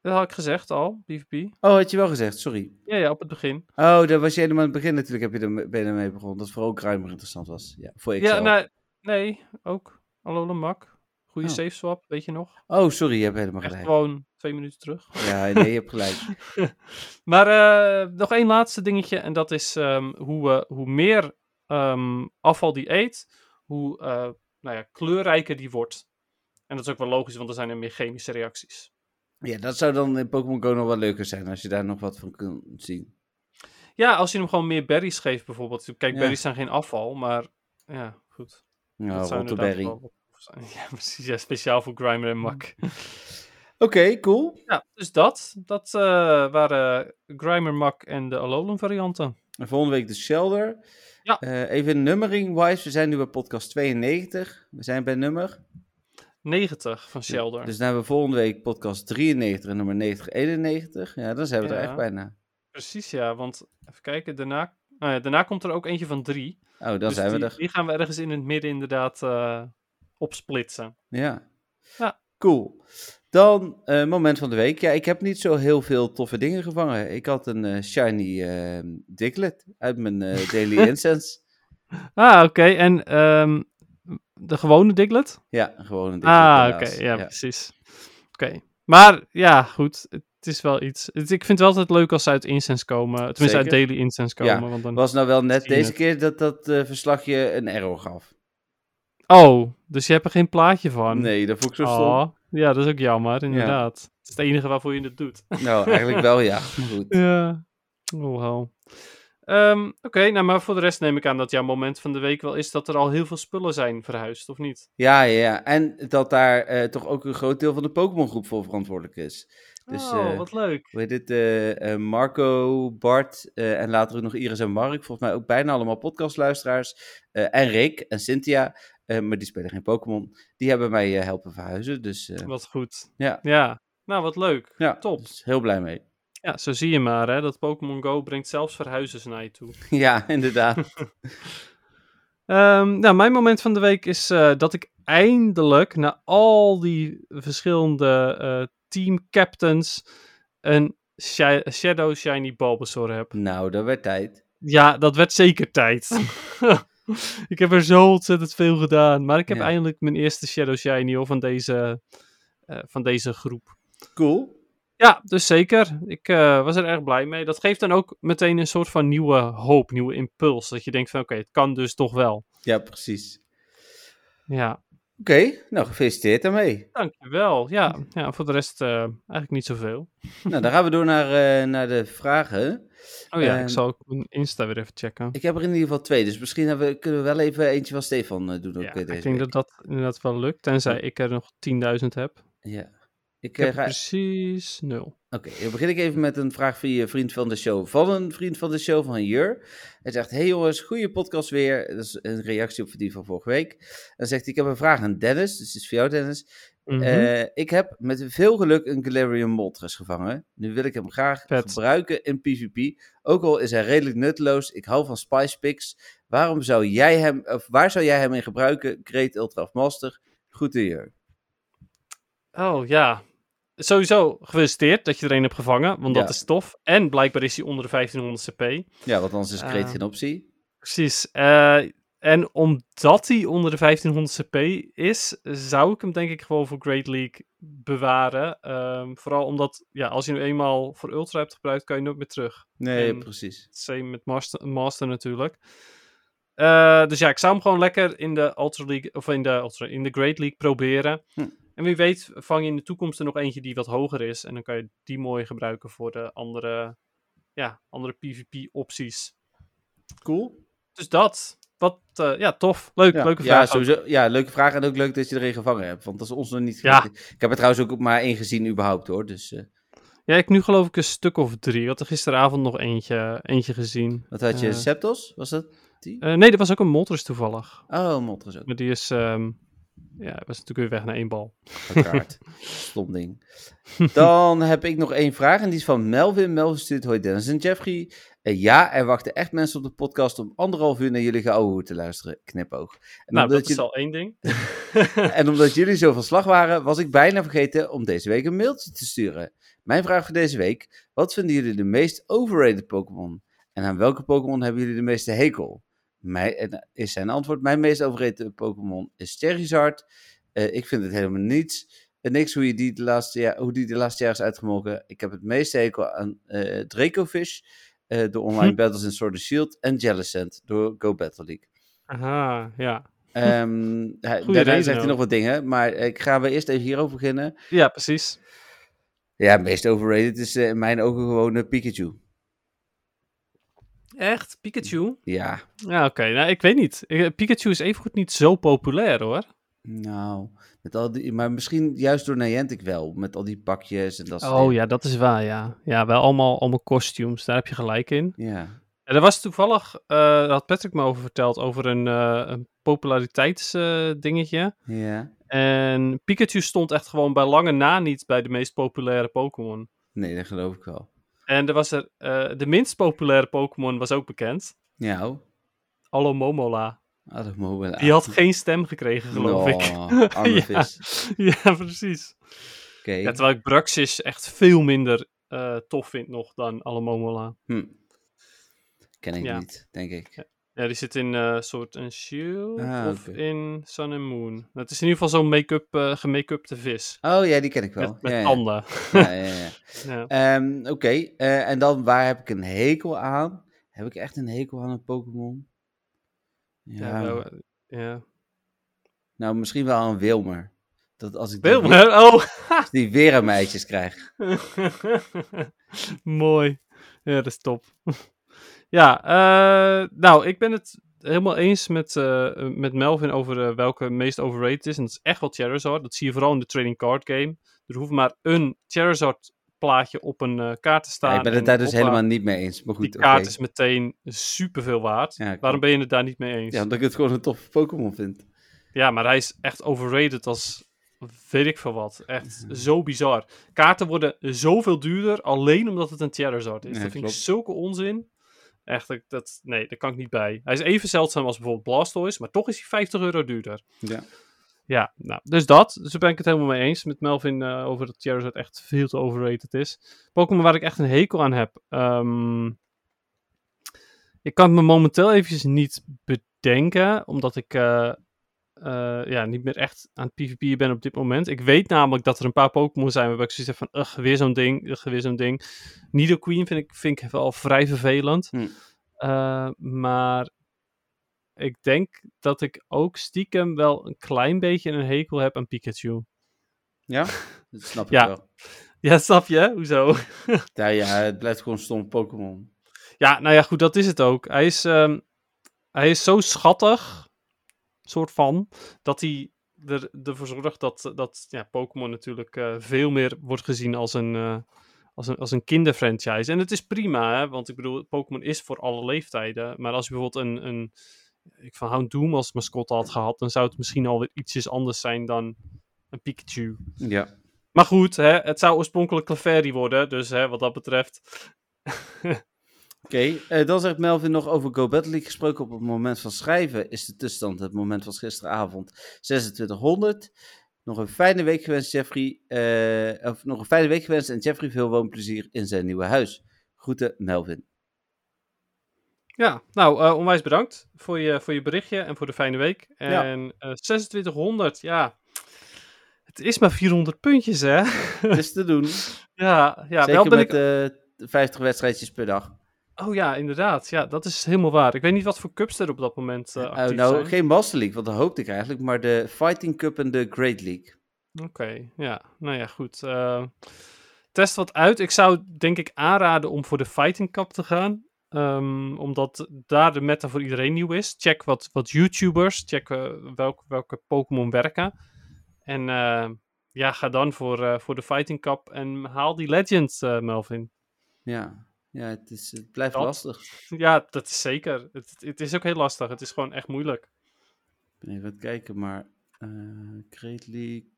D: Dat had ik gezegd al, PvP.
C: Oh, had je wel gezegd, sorry.
D: Ja, ja, op het begin.
C: Oh, daar was je helemaal aan het begin natuurlijk, heb je er, ben je ermee begonnen. Dat voor ook ruimer interessant was. Ja, voor ik
D: ja, nou, nee, ook. Alolan Mak. Goede
C: Oh.
D: safe swap, weet je nog?
C: Oh, sorry, je hebt helemaal
D: Echt
C: gelijk.
D: gewoon twee minuten terug.
C: Ja, nee, je hebt gelijk.
D: Maar eh, nog één laatste dingetje. En dat is ehm, hoe, eh, hoe meer ehm, afval die eet, hoe eh, nou ja, kleurrijker die wordt. En dat is ook wel logisch, want er zijn er meer chemische reacties.
C: Ja, dat zou dan in Pokémon Go nog wel leuker zijn als je daar nog wat van kunt zien.
D: Ja, als je hem gewoon meer berries geeft bijvoorbeeld. Kijk,
C: Ja.
D: berries zijn geen afval, maar ja, goed.
C: Nou,
D: Dat zou inderdaad
C: Rotterberry. Mm.
D: wel wat tof zijn. Ja, precies. Ja, speciaal voor Grimer en Mak.
A: cool.
D: Ja, dus dat. Dat eh, waren Grimer Mak en de Alolan varianten.
C: En volgende week de Shelder.
D: Ja.
C: Eh, even nummering-wise, we zijn nu bij podcast 92. We zijn bij nummer.
D: 90 van Shelder.
C: Dus dan hebben we volgende week podcast 93 en nummer 90, 91. Ja, dan zijn we er
D: Ja.
C: echt bijna.
D: Precies, ja. Want even kijken, daarna, nou ja, daarna komt er ook eentje van drie.
C: Oh, dan
D: dus
C: zijn we
D: die,
C: er.
D: die gaan we ergens in het midden inderdaad eh, opsplitsen.
C: Ja.
D: Ja.
C: Cool. Dan eh, moment van de week. Ja, ik heb niet zo heel veel toffe dingen gevangen. Ik had een eh, shiny eh Diglett uit mijn eh, Daily Incense.
D: Ah, oké. En ehm, de gewone Diglett?
C: Ja, gewoon een Diglett.
D: Ah, oké.
C: helaas.
D: ja, precies. Oké. Maar ja, goed. Het is wel iets. Het- ik vind het wel altijd leuk als ze uit Incense komen. Tenminste, uit
C: Zeker.
D: Daily Incense komen.
C: Ja,
D: want dan...
C: Was nou wel net
D: Zie je
C: deze
D: het.
C: keer dat dat eh, verslagje een error gaf.
D: Oh, dus je hebt er geen plaatje van?
C: Nee, dat vond ik zo stom.
D: Oh, ja, dat is ook jammer, inderdaad. Het is het enige waarvoor je het doet.
C: Nou, eigenlijk wel ja. Maar goed.
D: Ja. Oh, wel. Ehm, Oké, nou, maar voor de rest neem ik aan dat jouw moment van de week wel is dat er al heel veel spullen zijn verhuisd, of niet?
C: Ja, ja, ja. En dat daar eh, toch ook een groot deel van de Pokémon groep voor verantwoordelijk is. Dus,
D: oh,
C: eh,
D: wat leuk.
C: Hoe heet het? eh, eh, Marco, Bart eh, en later ook nog Iris en Mark. Volgens mij ook bijna allemaal podcastluisteraars. Eh, en Rick en Cynthia. eh, maar die spelen geen Pokémon. Die hebben mij eh, helpen verhuizen. Dus eh,
D: Wat goed.
C: Ja.
D: ja. Nou, wat leuk.
C: ja,
D: Top.
C: dus heel blij mee.
D: Ja, zo zie je maar, hè. Dat Pokémon Go brengt zelfs verhuizers naar je toe.
C: ja, inderdaad.
D: Ehm, nou, mijn moment van de week is eh, dat ik eindelijk na al die verschillende eh, team captains een shi- Shadow Shiny Bulbasaur heb.
C: nou, dat werd tijd.
D: Ja, dat werd zeker tijd. ik heb er zo ontzettend veel gedaan, maar ik heb
C: Ja.
D: eindelijk mijn eerste Shadow Shiny hoor, van, deze, eh, van deze groep.
C: Cool.
D: Ja, dus zeker. Ik eh, was er erg blij mee. Dat geeft dan ook meteen een soort van nieuwe hoop, nieuwe impuls. Dat je denkt van oké, het kan dus toch wel.
C: Ja, precies.
D: Ja.
C: Oké, nou gefeliciteerd daarmee.
D: Dankjewel. Ja, ja voor de rest eh, eigenlijk niet zoveel.
C: nou, dan gaan we door naar, eh, naar de vragen.
D: Oh ja,
C: Ehm,
D: ik zal ook mijn Insta weer even checken.
C: Ik heb er in ieder geval twee, dus misschien hebben, we- kunnen we wel even eentje van Stefan eh, doen. Ook,
D: ja,
C: eh, deze
D: ik denk
C: week.
D: dat dat inderdaad wel lukt, tenzij ik er nog 10.000 heb.
C: Ja. Ik,
D: Ik heb
C: eh, ga,
D: precies nul.
C: Oké, dan begin ik even met een vraag via een vriend van de show. Van een vriend van de show, van Jur. Hij zegt, hey jongens, goede podcast weer. Dat is een reactie op die van vorige week. Dan zegt hij, ik heb een vraag aan Dennis. Dus het is voor jou, Dennis.
D: Mhm.
C: Eh, ik heb met veel geluk een Galarian Moltres gevangen. Nu wil ik hem graag
D: Vet.
C: gebruiken in PvP. Ook al is hij redelijk nutteloos. Ik hou van Spice Picks. Waarom zou jij hem, of waar zou jij hem in gebruiken? Great Ultra of Master. Goed, Jur.
D: Oh ja. Sowieso gefeliciteerd dat je er een hebt gevangen, want
C: Ja.
D: dat is tof. En blijkbaar is hij onder de 1500 CP.
C: Ja, want anders is Great
D: Ah.
C: geen optie.
D: Precies. eh, en omdat hij onder de 1500 CP is, zou ik hem denk ik gewoon voor Great League bewaren. Ehm, vooral omdat, ja, als je hem eenmaal voor Ultra hebt gebruikt, kan je nooit meer terug.
C: Nee,
D: En-
C: precies.
D: Same met Master, master natuurlijk. Eh, dus ja, ik zou hem gewoon lekker in de Ultra League, of in de, Ultra, in de Great League proberen.
C: Hm.
D: En wie weet vang je in de toekomst er nog eentje die wat hoger is. En dan kan je die mooi gebruiken voor de andere, ja, andere PvP opties.
C: Cool.
D: Dus dat. Wat, eh, ja, tof. Leuk,
C: Ja,
D: leuke
C: ja,
D: vraag. ook.
C: sowieso, ja, leuke vraag en ook leuk dat je erin gevangen hebt, want dat is ons nog niet
D: Ja.
C: gelukt. Ik heb er trouwens ook maar één gezien überhaupt hoor, dus eh,
D: Ja, ik nu geloof ik een stuk of drie. Ik had er gisteravond nog eentje, eentje gezien.
C: wat had je,
D: Eh.
C: Septos? Was dat die?
D: Eh, nee, er was ook een Moltres toevallig.
C: oh, Moltres ook,
D: Maar die is, ehm, ja, was natuurlijk weer weg naar één bal.
C: uiteraard. Stom ding. Dan heb ik nog één vraag en die is van Melvin. Melvin stuurt, hoi Dennis en Jeffrey. Eh, ja, er wachten echt mensen op de podcast om anderhalf uur naar jullie geouwehoer te luisteren, knipoog. En,
D: nou,
C: omdat
D: dat is
C: jullie-
D: al één ding.
C: en omdat jullie zo van slag waren, was ik bijna vergeten om deze week een mailtje te sturen. Mijn vraag voor deze week: wat vinden jullie de meest overrated Pokémon? En aan welke Pokémon hebben jullie de meeste hekel? Mij, en eh, is zijn antwoord: Mijn meest overrated Pokémon is Charizard. Eh, ik vind het helemaal niets. Eh, niks hoe, je die de laatste jaar, hoe die de laatste jaar is uitgemolken. Ik heb het meeste hekel aan eh Dracofish, eh door online
D: Hm.
C: battles in Sword and Shield. En Jellicent door Go Battle League.
D: Aha, ja.
C: Ehm hij,
D: Goeie
C: daarna
D: reden
C: zegt hij
D: ook.
C: nog wat dingen, maar ik ga wel eerst even hierover beginnen.
D: Ja, precies.
C: Ja, het meest overrated is eh, in mijn ogen gewoon eh, Pikachu.
D: Echt? Pikachu?
C: Ja,
D: Ja, oké. Nou, ik weet niet. Ik- eh, Pikachu is evengoed niet zo populair, hoor.
C: Nou, met al die, maar misschien juist door Niantic wel, met al die pakjes en dat soort
D: Oh
C: dingen.
D: ja, dat is waar, ja. Ja, wel allemaal, allemaal costumes, daar heb je gelijk in.
C: Ja.
D: En er was toevallig, eh, daar had Patrick me over verteld, over een, eh, een populariteitsdingetje.
C: Ja.
D: en Pikachu stond echt gewoon bij lange na niet bij de meest populaire Pokémon.
C: Nee, dat geloof ik wel.
D: En er was er, eh, de minst populaire Pokémon was ook bekend.
C: Nou,
D: Alomomola.
C: Adamobola.
D: Die had geen stem gekregen, geloof ik.
C: Arme Nou,
D: Ja.
C: vis.
D: ja, precies.
C: Oké.
D: Ja, terwijl ik Bruxis echt veel minder eh, tof vind nog dan Alomomola.
C: Hm. Ken ik
D: Ja.
C: niet, denk ik.
D: Ja, die zit in eh soort een shield
C: Ah,
D: of
C: oké.
D: in Sun and Moon. Dat is in ieder geval zo'n make-up, eh gemake-upte vis.
C: Oh ja, die ken ik wel.
D: Met, met
C: ja, ja.
D: tanden.
C: Ja, ja, ja.
D: Ja.
C: Ehm, Oké, eh, en dan waar heb ik een hekel aan? Heb ik echt een hekel aan een Pokémon? Ja,
D: Ja, nou, eh, ja.
C: nou, misschien wel aan een Wilmer. Dat als ik die
D: Wilmer,
C: weer-
D: oh!
C: als die weer aan mijn eitjes krijg.
D: Mooi. Ja, dat is top. ja, eh, nou, ik ben het helemaal eens met, eh, met Melvin over eh, welke meest overrated is. En dat is echt wel Charizard. Dat zie je vooral in de trading card game. Er hoeft maar een Charizard plaatje op een eh, kaart te staan.
C: Ja, ik ben
D: en
C: het daar dus
D: hoppa,
C: helemaal niet mee eens. Maar goed,
D: Die
C: oké.
D: kaart is meteen superveel waard.
C: Ja, klopt.
D: Waarom ben je het daar niet mee eens?
C: Ja,
D: Ja,
C: omdat ik het gewoon een toffe Pokémon vind.
D: maar hij is echt overrated als weet ik veel wat. Echt
C: Mhm.
D: zo bizar. Kaarten worden zoveel duurder alleen omdat het een Charizard is.
C: Ja,
D: dat vind
C: klopt.
D: ik zulke onzin. Echt, ik- dat, nee, daar kan ik niet bij. Hij is even zeldzaam als bijvoorbeeld Blastoise, maar toch is hij 50 euro duurder.
C: Ja.
D: Ja, nou, dus dat. Dus daar ben ik het helemaal mee eens met Melvin eh, over dat Charizard echt veel te overrated is. Pokémon waar ik echt een hekel aan heb. ehm, ik kan het me momenteel eventjes niet bedenken, omdat ik eh, eh, ja, niet meer echt aan het PvP ben op dit moment. Ik weet namelijk dat er een paar Pokémon zijn waarbij ik zoiets heb van, ugh, weer zo'n ding, ugh, weer zo'n ding. Nidoqueen vind ik, vind ik wel vrij vervelend.
C: Hm.
D: Eh, maar ik denk dat ik ook stiekem wel een klein beetje een hekel heb aan Pikachu.
C: Ja? Dat snap ik
D: Ja.
C: wel.
D: Ja, snap je? Hoezo?
C: Ja, ja, het blijft gewoon een stom Pokémon.
D: Ja, nou ja, goed, dat is het ook. Hij is, ehm, hij is zo schattig, soort van, dat hij er, ervoor zorgt dat, dat ja, Pokémon natuurlijk eh, veel meer wordt gezien als een, eh, als een, als een kinderfranchise. En het is prima, hè, want ik bedoel, Pokémon is voor alle leeftijden. Maar als je bijvoorbeeld een, een ik van Houndoom als mascotte had gehad, dan zou het misschien alweer ietsjes anders zijn dan een Pikachu.
C: Ja.
D: Maar goed, hè, het zou oorspronkelijk Clefairy worden, dus hè, wat dat betreft...
C: Oké, eh, dan zegt Melvin nog over Go Battle League gesproken. Op het moment van schrijven is de tussenstand het moment van gisteravond 2600. Nog een fijne week gewenst, Jeffrey. eh, of nog een fijne week gewenst en Jeffrey veel woonplezier in zijn nieuwe huis. Groeten, Melvin.
D: Ja, nou, eh, onwijs bedankt voor je, voor je berichtje en voor de fijne week.
C: Ja.
D: En eh, 2600, ja. Het is maar 400 puntjes, hè?
C: Het is te doen.
D: Ja, ja wel
C: Zeker
D: ben
C: met
D: ik...
C: eh, 50 wedstrijdjes per dag.
D: Oh ja, inderdaad. Ja, dat is helemaal waar. Ik weet niet wat voor cups er op dat moment eh,
C: Oh,
D: actief
C: nou,
D: zijn.
C: geen Master League, want dat hoopte ik eigenlijk. Maar de Fighting Cup en de Great League.
D: Oké, ja. Nou ja, goed. eh, test wat uit. Ik zou denk ik aanraden om voor de Fighting Cup te gaan. Ehm, omdat daar de meta voor iedereen nieuw is. Check wat, wat YouTubers, check eh, welk, welke Pokémon werken. En eh, ja, ga dan voor, eh, voor de Fighting Cup en haal die Legends, eh, Melvin.
C: Ja, ja het, is, het blijft
D: Dat-
C: lastig.
D: ja, dat is zeker. Het, het is ook heel lastig. Het is gewoon echt moeilijk.
C: Ik ben even aan het kijken, maar eh Great League.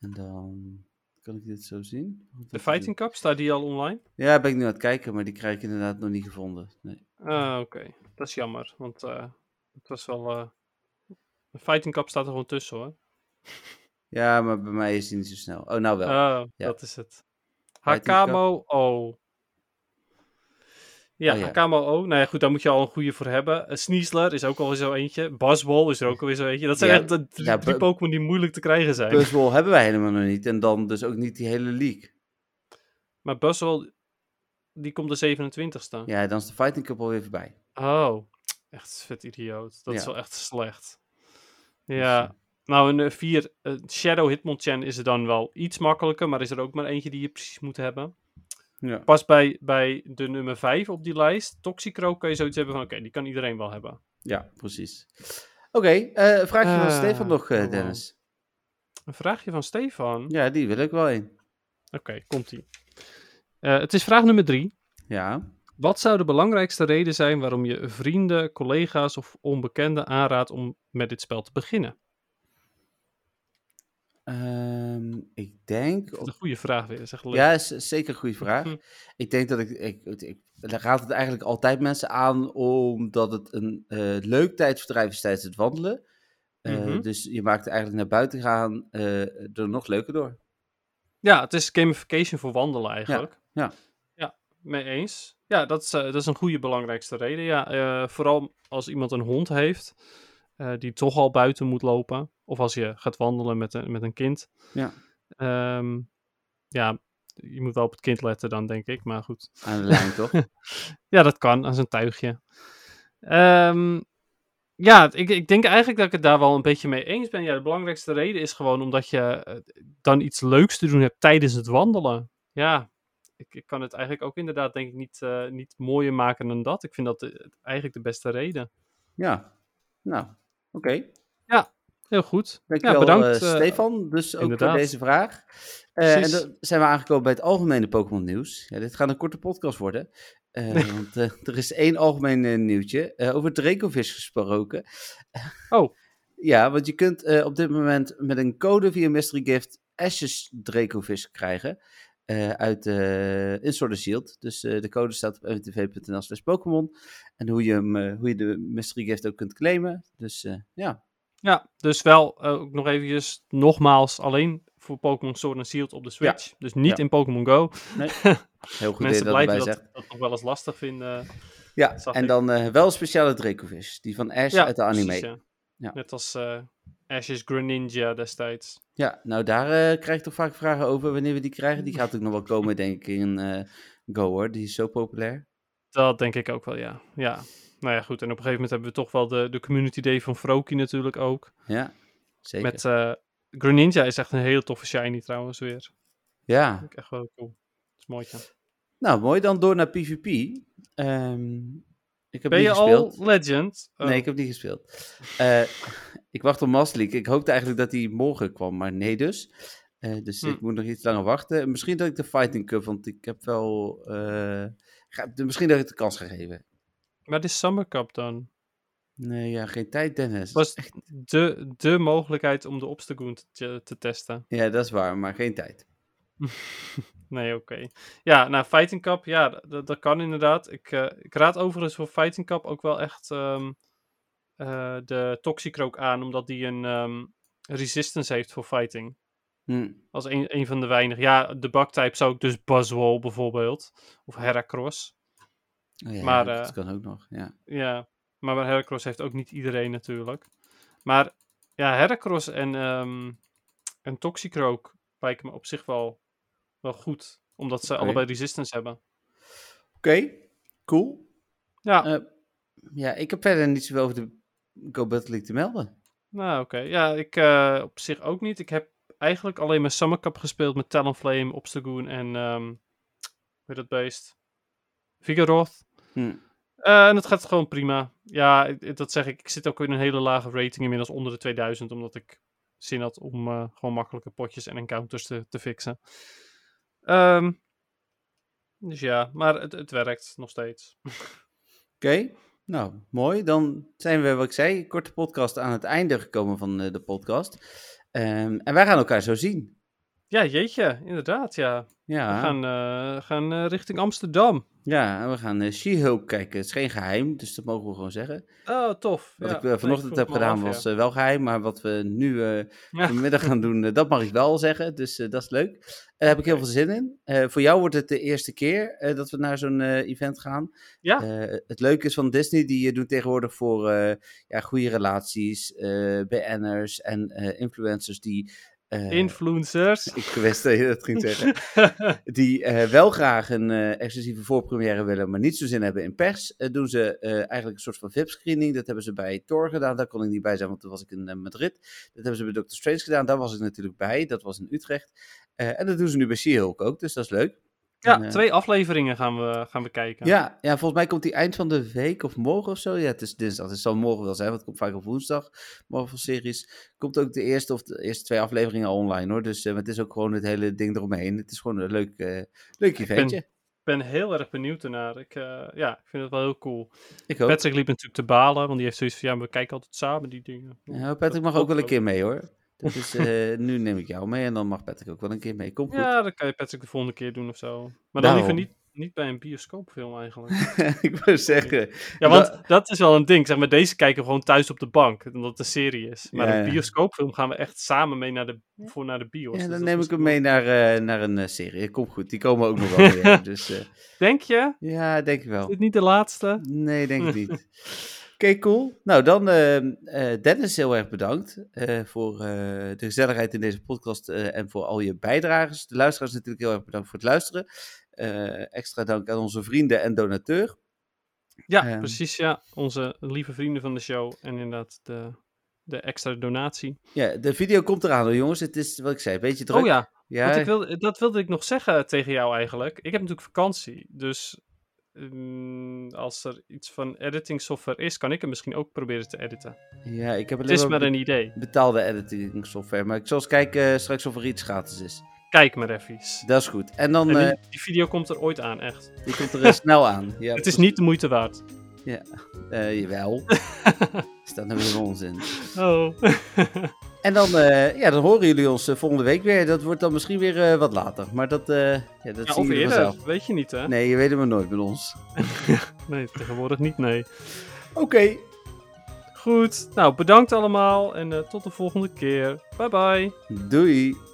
C: En dan kan ik dit zo zien. Wat
D: De
C: heb ik
D: Fighting Cup, staat die al online?
C: nu? Ja, ben ik nu aan het kijken, maar die krijg ik inderdaad nog niet gevonden. Nee.
D: Ah, oké. Dat is jammer, want eh, het was wel... eh, de Fighting Cup staat er gewoon tussen, hoor.
C: Ja, maar bij mij is die niet zo snel. Oh, nou wel.
D: Ah,
C: ja.
D: dat is het.
C: Fighting Cup.
D: Hakamo O. Ja,
C: Oh, ja.
D: Hakamo O. Nou ja, goed, daar moet je al een goede voor hebben. Eh, Sneasler is ook alweer zo eentje. Buzzwall is er ook alweer zo eentje. Dat zijn
C: Ja,
D: echt de drie,
C: ja,
D: drie
C: bu-
D: Pokémon die moeilijk te krijgen zijn.
C: Puzzle hebben wij helemaal nog niet. En dan dus ook niet die hele league.
D: maar Buzzwall, die komt de 27ste.
C: Ja, dan is de Fighting Cup alweer voorbij.
D: Oh, echt vet idioot. Dat
C: Ja. Dus,
D: is
C: eh,
D: wel echt slecht. Ja. Nou, een 4 Shadow Hitmonchan is er dan wel iets makkelijker, maar is er ook maar eentje die je precies moet hebben.
C: Ja.
D: Pas bij, bij de nummer 5 op die lijst, Toxicroak, kan je zoiets hebben van: oké, die kan iedereen wel hebben.
C: Ja, precies. Oké, eh, vraagje van
D: Eh,
C: Stefan nog, eh,
D: oh.
C: Dennis.
D: Een vraagje van Stefan.
C: Ja, die wil ik wel in.
D: Oké, komt-ie. Eh, het is vraag nummer drie.
C: Ja.
D: Wat zou de belangrijkste reden zijn waarom je vrienden, collega's of onbekenden aanraadt om met dit spel te beginnen?
C: Ehm, ik denk...
D: Dat
C: op-
D: is een goede vraag weer, zeg leuk.
C: Ja, is zeker een goede vraag. Ik denk dat ik, ik, ik, ik raad het eigenlijk altijd mensen aan, omdat het een eh, leuk tijdverdrijf is tijdens het wandelen. Eh,
D: Mhm.
C: Dus je maakt eigenlijk naar buiten gaan eh, er nog leuker door.
D: Ja, het is gamification voor wandelen eigenlijk.
C: ja.
D: Ja, mee eens. Ja, dat is, eh, dat is een goede belangrijkste reden. Ja, eh, vooral als iemand een hond heeft eh, die toch al buiten moet lopen. Of als je gaat wandelen met een, met een kind.
C: Ja.
D: Ehm, ja, je moet wel op het kind letten dan, denk ik. Maar goed.
C: Aan de lijn, toch?
D: Ja, dat kan, als een tuigje. Ehm, ja, ik, ik denk eigenlijk dat ik het daar wel een beetje mee eens ben. Ja, de belangrijkste reden is gewoon omdat je eh, dan iets leuks te doen hebt tijdens het wandelen. Ja, ik, ik kan het eigenlijk ook inderdaad denk ik niet, eh, niet mooier maken dan dat. Ik vind dat de- eigenlijk de beste reden.
C: ja. Nou, oké.
D: Heel goed.
C: Dankjewel,
D: ja, bedankt.
C: eh,
D: eh,
C: Stefan. Dus ook
D: inderdaad.
C: voor deze vraag. Eh, en
D: Precies.
C: dan zijn we aangekomen bij het algemene Pokémon nieuws. Ja, dit gaat een korte podcast worden. Eh, Want eh, er is één algemeen eh, nieuwtje. Eh, over Dracovis gesproken.
D: Oh.
C: Ja, want je kunt eh, op dit moment met een code via Mystery Gift Ashes Dracovis krijgen. eh, uit eh Insort the Shield. Dus eh, de code staat op mtv.nl slash Pokémon. En hoe je, hem, eh, hoe je de Mystery Gift ook kunt claimen. Dus eh, ja,
D: Ja, dus wel eh, ook nog eventjes, nogmaals, alleen voor Pokémon Sword en Shield op de Switch. Dus niet
C: Ja.
D: in Pokémon
C: heel
D: Go.
C: goed dat
D: Mensen
C: je dat erbij
D: blijven dat,
C: zegt.
D: dat nog wel eens lastig vinden.
C: Ja,
D: Zag
C: en
D: ik.
C: dan eh, wel een speciale Dracovish. Die van Ash uit de anime.
D: precies,
C: ja.
D: ja.
C: Ja.
D: Net als eh Ash's Greninja destijds.
C: nou daar eh, krijg ik toch vaak vragen over wanneer we die krijgen. Die gaat ook nog wel komen, denk ik, in eh, Go hoor. Die is zo populair.
D: Dat denk ik ook wel, ja. ja. Nou ja, goed. En op een gegeven moment hebben we toch wel de, de community day van Froakie natuurlijk ook.
C: Ja, zeker.
D: Met eh, Greninja is echt een hele toffe shiny trouwens weer.
C: Ja,
D: Vind ik echt wel cool. Dat is mooi. ja.
C: nou mooi. Dan door naar PvP. Ehm, ik heb
D: Ben
C: niet
D: je
C: gespeeld.
D: al legend? Oh,
C: Nee, ik heb niet gespeeld. Eh, ik wacht op Maslik. Ik hoopte eigenlijk dat hij morgen kwam, maar nee dus. Eh, dus
D: Hm.
C: ik moet nog iets langer wachten. Misschien dat ik de Fighting Cup, want ik heb wel... eh, ga, misschien dat ik de kans ga geven.
D: Maar dit is Summer Cup dan.
C: Nee, ja, geen tijd, Dennis.
D: Was de, de mogelijkheid om de Obstagoon te, te- te testen.
C: Ja, dat is waar, maar geen tijd.
D: Nee, oké. Ja, nou, Fighting Cup, ja, d- d- dat kan inderdaad. Ik, eh, ik raad overigens voor Fighting Cup ook wel echt ehm, eh, de Toxicroak aan, omdat die een ehm, resistance heeft voor fighting.
C: Hm.
D: Als een, een van de weinig. Ja, de baktype zou ik dus Buzzwole bijvoorbeeld, of Heracross.
C: Oh ja,
D: Maar,
C: dat
D: eh,
C: kan ook nog, ja.
D: Ja, maar bij Heracross heeft ook niet iedereen natuurlijk. Maar ja, Heracross en, ehm en Toxicroak lijken me op zich wel, wel goed, omdat ze
C: Oké.
D: allebei resistance hebben.
C: Oké, cool.
D: Ja.
C: Eh, ja, ik heb verder niet zoveel over de Go Battle League te melden.
D: Nou, oké. Ja, ik eh, op zich ook niet. Ik heb eigenlijk alleen mijn Summer Cup gespeeld met Talonflame, Obstagoon en... ehm hoe heet dat beest? Vigoroth.
C: Hm.
D: Eh, en het gaat gewoon prima. Ja, ik- ik- dat zeg ik. Ik zit ook in een hele lage rating inmiddels onder de 2000. Omdat ik zin had om eh, gewoon makkelijke potjes en encounters te, te fixen. Ehm, dus ja, maar het, het werkt nog steeds.
C: Oké, nou, mooi. Dan zijn we, wat ik zei, een korte podcast aan het einde gekomen van eh, de podcast. Ehm, en wij gaan elkaar zo zien.
D: Ja, jeetje. Inderdaad, ja. We
C: Ja,
D: gaan, eh, gaan eh, richting Amsterdam.
C: ja en we gaan eh, She-Hulk kijken. Het is geen geheim, dus dat mogen we gewoon zeggen.
D: Oh, tof.
C: Wat
D: Ja,
C: ik eh,
D: nee,
C: vanochtend
D: vroeg
C: heb
D: me al
C: gedaan
D: af,
C: was
D: ja.
C: eh, wel geheim, maar wat we nu eh,
D: Ja.
C: vanmiddag gaan doen, eh, dat mag ik wel zeggen. Dus eh, dat is leuk. Daar heb ik heel veel zin in. Eh, voor jou wordt het de eerste keer eh, dat we naar zo'n eh, event gaan.
D: Ja.
C: Eh, het leuke is van Disney, die eh, doen tegenwoordig voor eh, ja, goede relaties, eh BN'ers en eh, influencers die... eh,
D: Influencers.
C: ik wist dat je dat ging zeggen. Die eh, wel graag een eh, exclusieve voorpremière willen, maar niet zo zin hebben in pers. Eh, doen ze eh, eigenlijk een soort van VIP-screening. Dat hebben ze bij Thor gedaan. Daar kon ik niet bij zijn, want toen was ik in eh, Madrid. Dat hebben ze bij Doctor Strange gedaan. Daar was ik natuurlijk bij. Dat was in Utrecht. Eh, en dat doen ze nu bij She-Hulk ook, dus dat is leuk.
D: Ja,
C: En, eh,
D: twee afleveringen gaan we, gaan we kijken.
C: Ja, ja, volgens mij komt die eind van de week of morgen of zo. Ja, het is dinsdag. dus Het zal morgen wel zijn, want het komt vaak op woensdag. Marvel-series. Komt ook de eerste of de eerste twee afleveringen al online hoor. Dus eh, maar het is ook gewoon het hele ding eromheen. Het is gewoon een leuk, eh leuk eventje.
D: Ik ben heel erg benieuwd ernaar. Ik, eh, ja, ik vind het wel heel cool.
C: Ik hoop.
D: Patrick liep natuurlijk te balen, want die heeft zoiets van, ja, we kijken altijd samen die dingen.
C: Ja, Patrick mag ook wel een keer mee hoor. Dat is, eh, nu neem ik jou mee en dan mag Patrick ook wel een keer mee. Kom goed. Nou.
D: Ja, dat kan je Patrick de volgende keer doen of zo. Maar dan liever
C: Daarom.
D: niet, niet bij een bioscoopfilm eigenlijk.
C: ik wil zeggen.
D: Ja, want dat is wel een ding. Zeg maar, deze kijken we gewoon thuis op de bank, omdat het een serie is. Maar
C: Ja,
D: een
C: ja.
D: bioscoopfilm gaan we echt samen mee naar de, voor naar de bios.
C: Ja,
D: Dus
C: dan
D: dat
C: neem
D: is
C: ik hem
D: cool.
C: mee naar, eh, naar een eh, serie. Kom goed, die komen ook nog wel weer. Dus eh,
D: Denk je?
C: ja, denk ik
D: Is
C: wel.
D: dit niet de laatste?
C: Nee, denk ik niet. Oké, cool. Nou, dan ehm, eh, Dennis, heel erg bedankt eh, voor eh, de gezelligheid in deze podcast eh, en voor al je bijdrages. De luisteraars natuurlijk heel erg bedankt voor het luisteren. Eh, extra dank aan onze vrienden en donateur.
D: Ja,
C: Ehm.
D: precies. Ja, onze lieve vrienden van de show. En inderdaad de, de extra donatie.
C: Ja, de video komt eraan hoor jongens. Het is wat ik zei, een beetje druk.
D: Oh ja,
C: Ja,
D: Want ik wilde, dat wilde ik nog zeggen tegen jou eigenlijk. Ik heb natuurlijk vakantie, dus mm, als er iets van editing software is, kan ik het misschien ook proberen te editen.
C: ja, ik heb
D: Het
C: alleen
D: is
C: maar
D: maar een idee.
C: betaalde editing software. Maar ik zal eens kijken eh, straks of er iets gratis is.
D: Kijk maar even.
C: Dat is goed. En dan,
D: En
C: eh,
D: die, die video komt er ooit aan, echt.
C: die komt er eh, snel aan. Ja,
D: Het is niet de moeite waard.
C: eh, jawel. is dat nou weer onzin?
D: Oh.
C: En dan, eh, ja, dan horen jullie ons eh, volgende week weer. Dat wordt dan misschien weer eh, wat later. Maar dat, eh, ja, dat
D: Ja,
C: zien
D: of
C: jullie
D: eerder,
C: vanzelf.
D: weet je niet, hè? Nee.
C: Nee, je weet het maar nooit met ons.
D: tegenwoordig niet, nee.
C: Oké.
D: Goed, nou, bedankt allemaal en eh, tot de volgende keer. Bye bye.
C: Doei.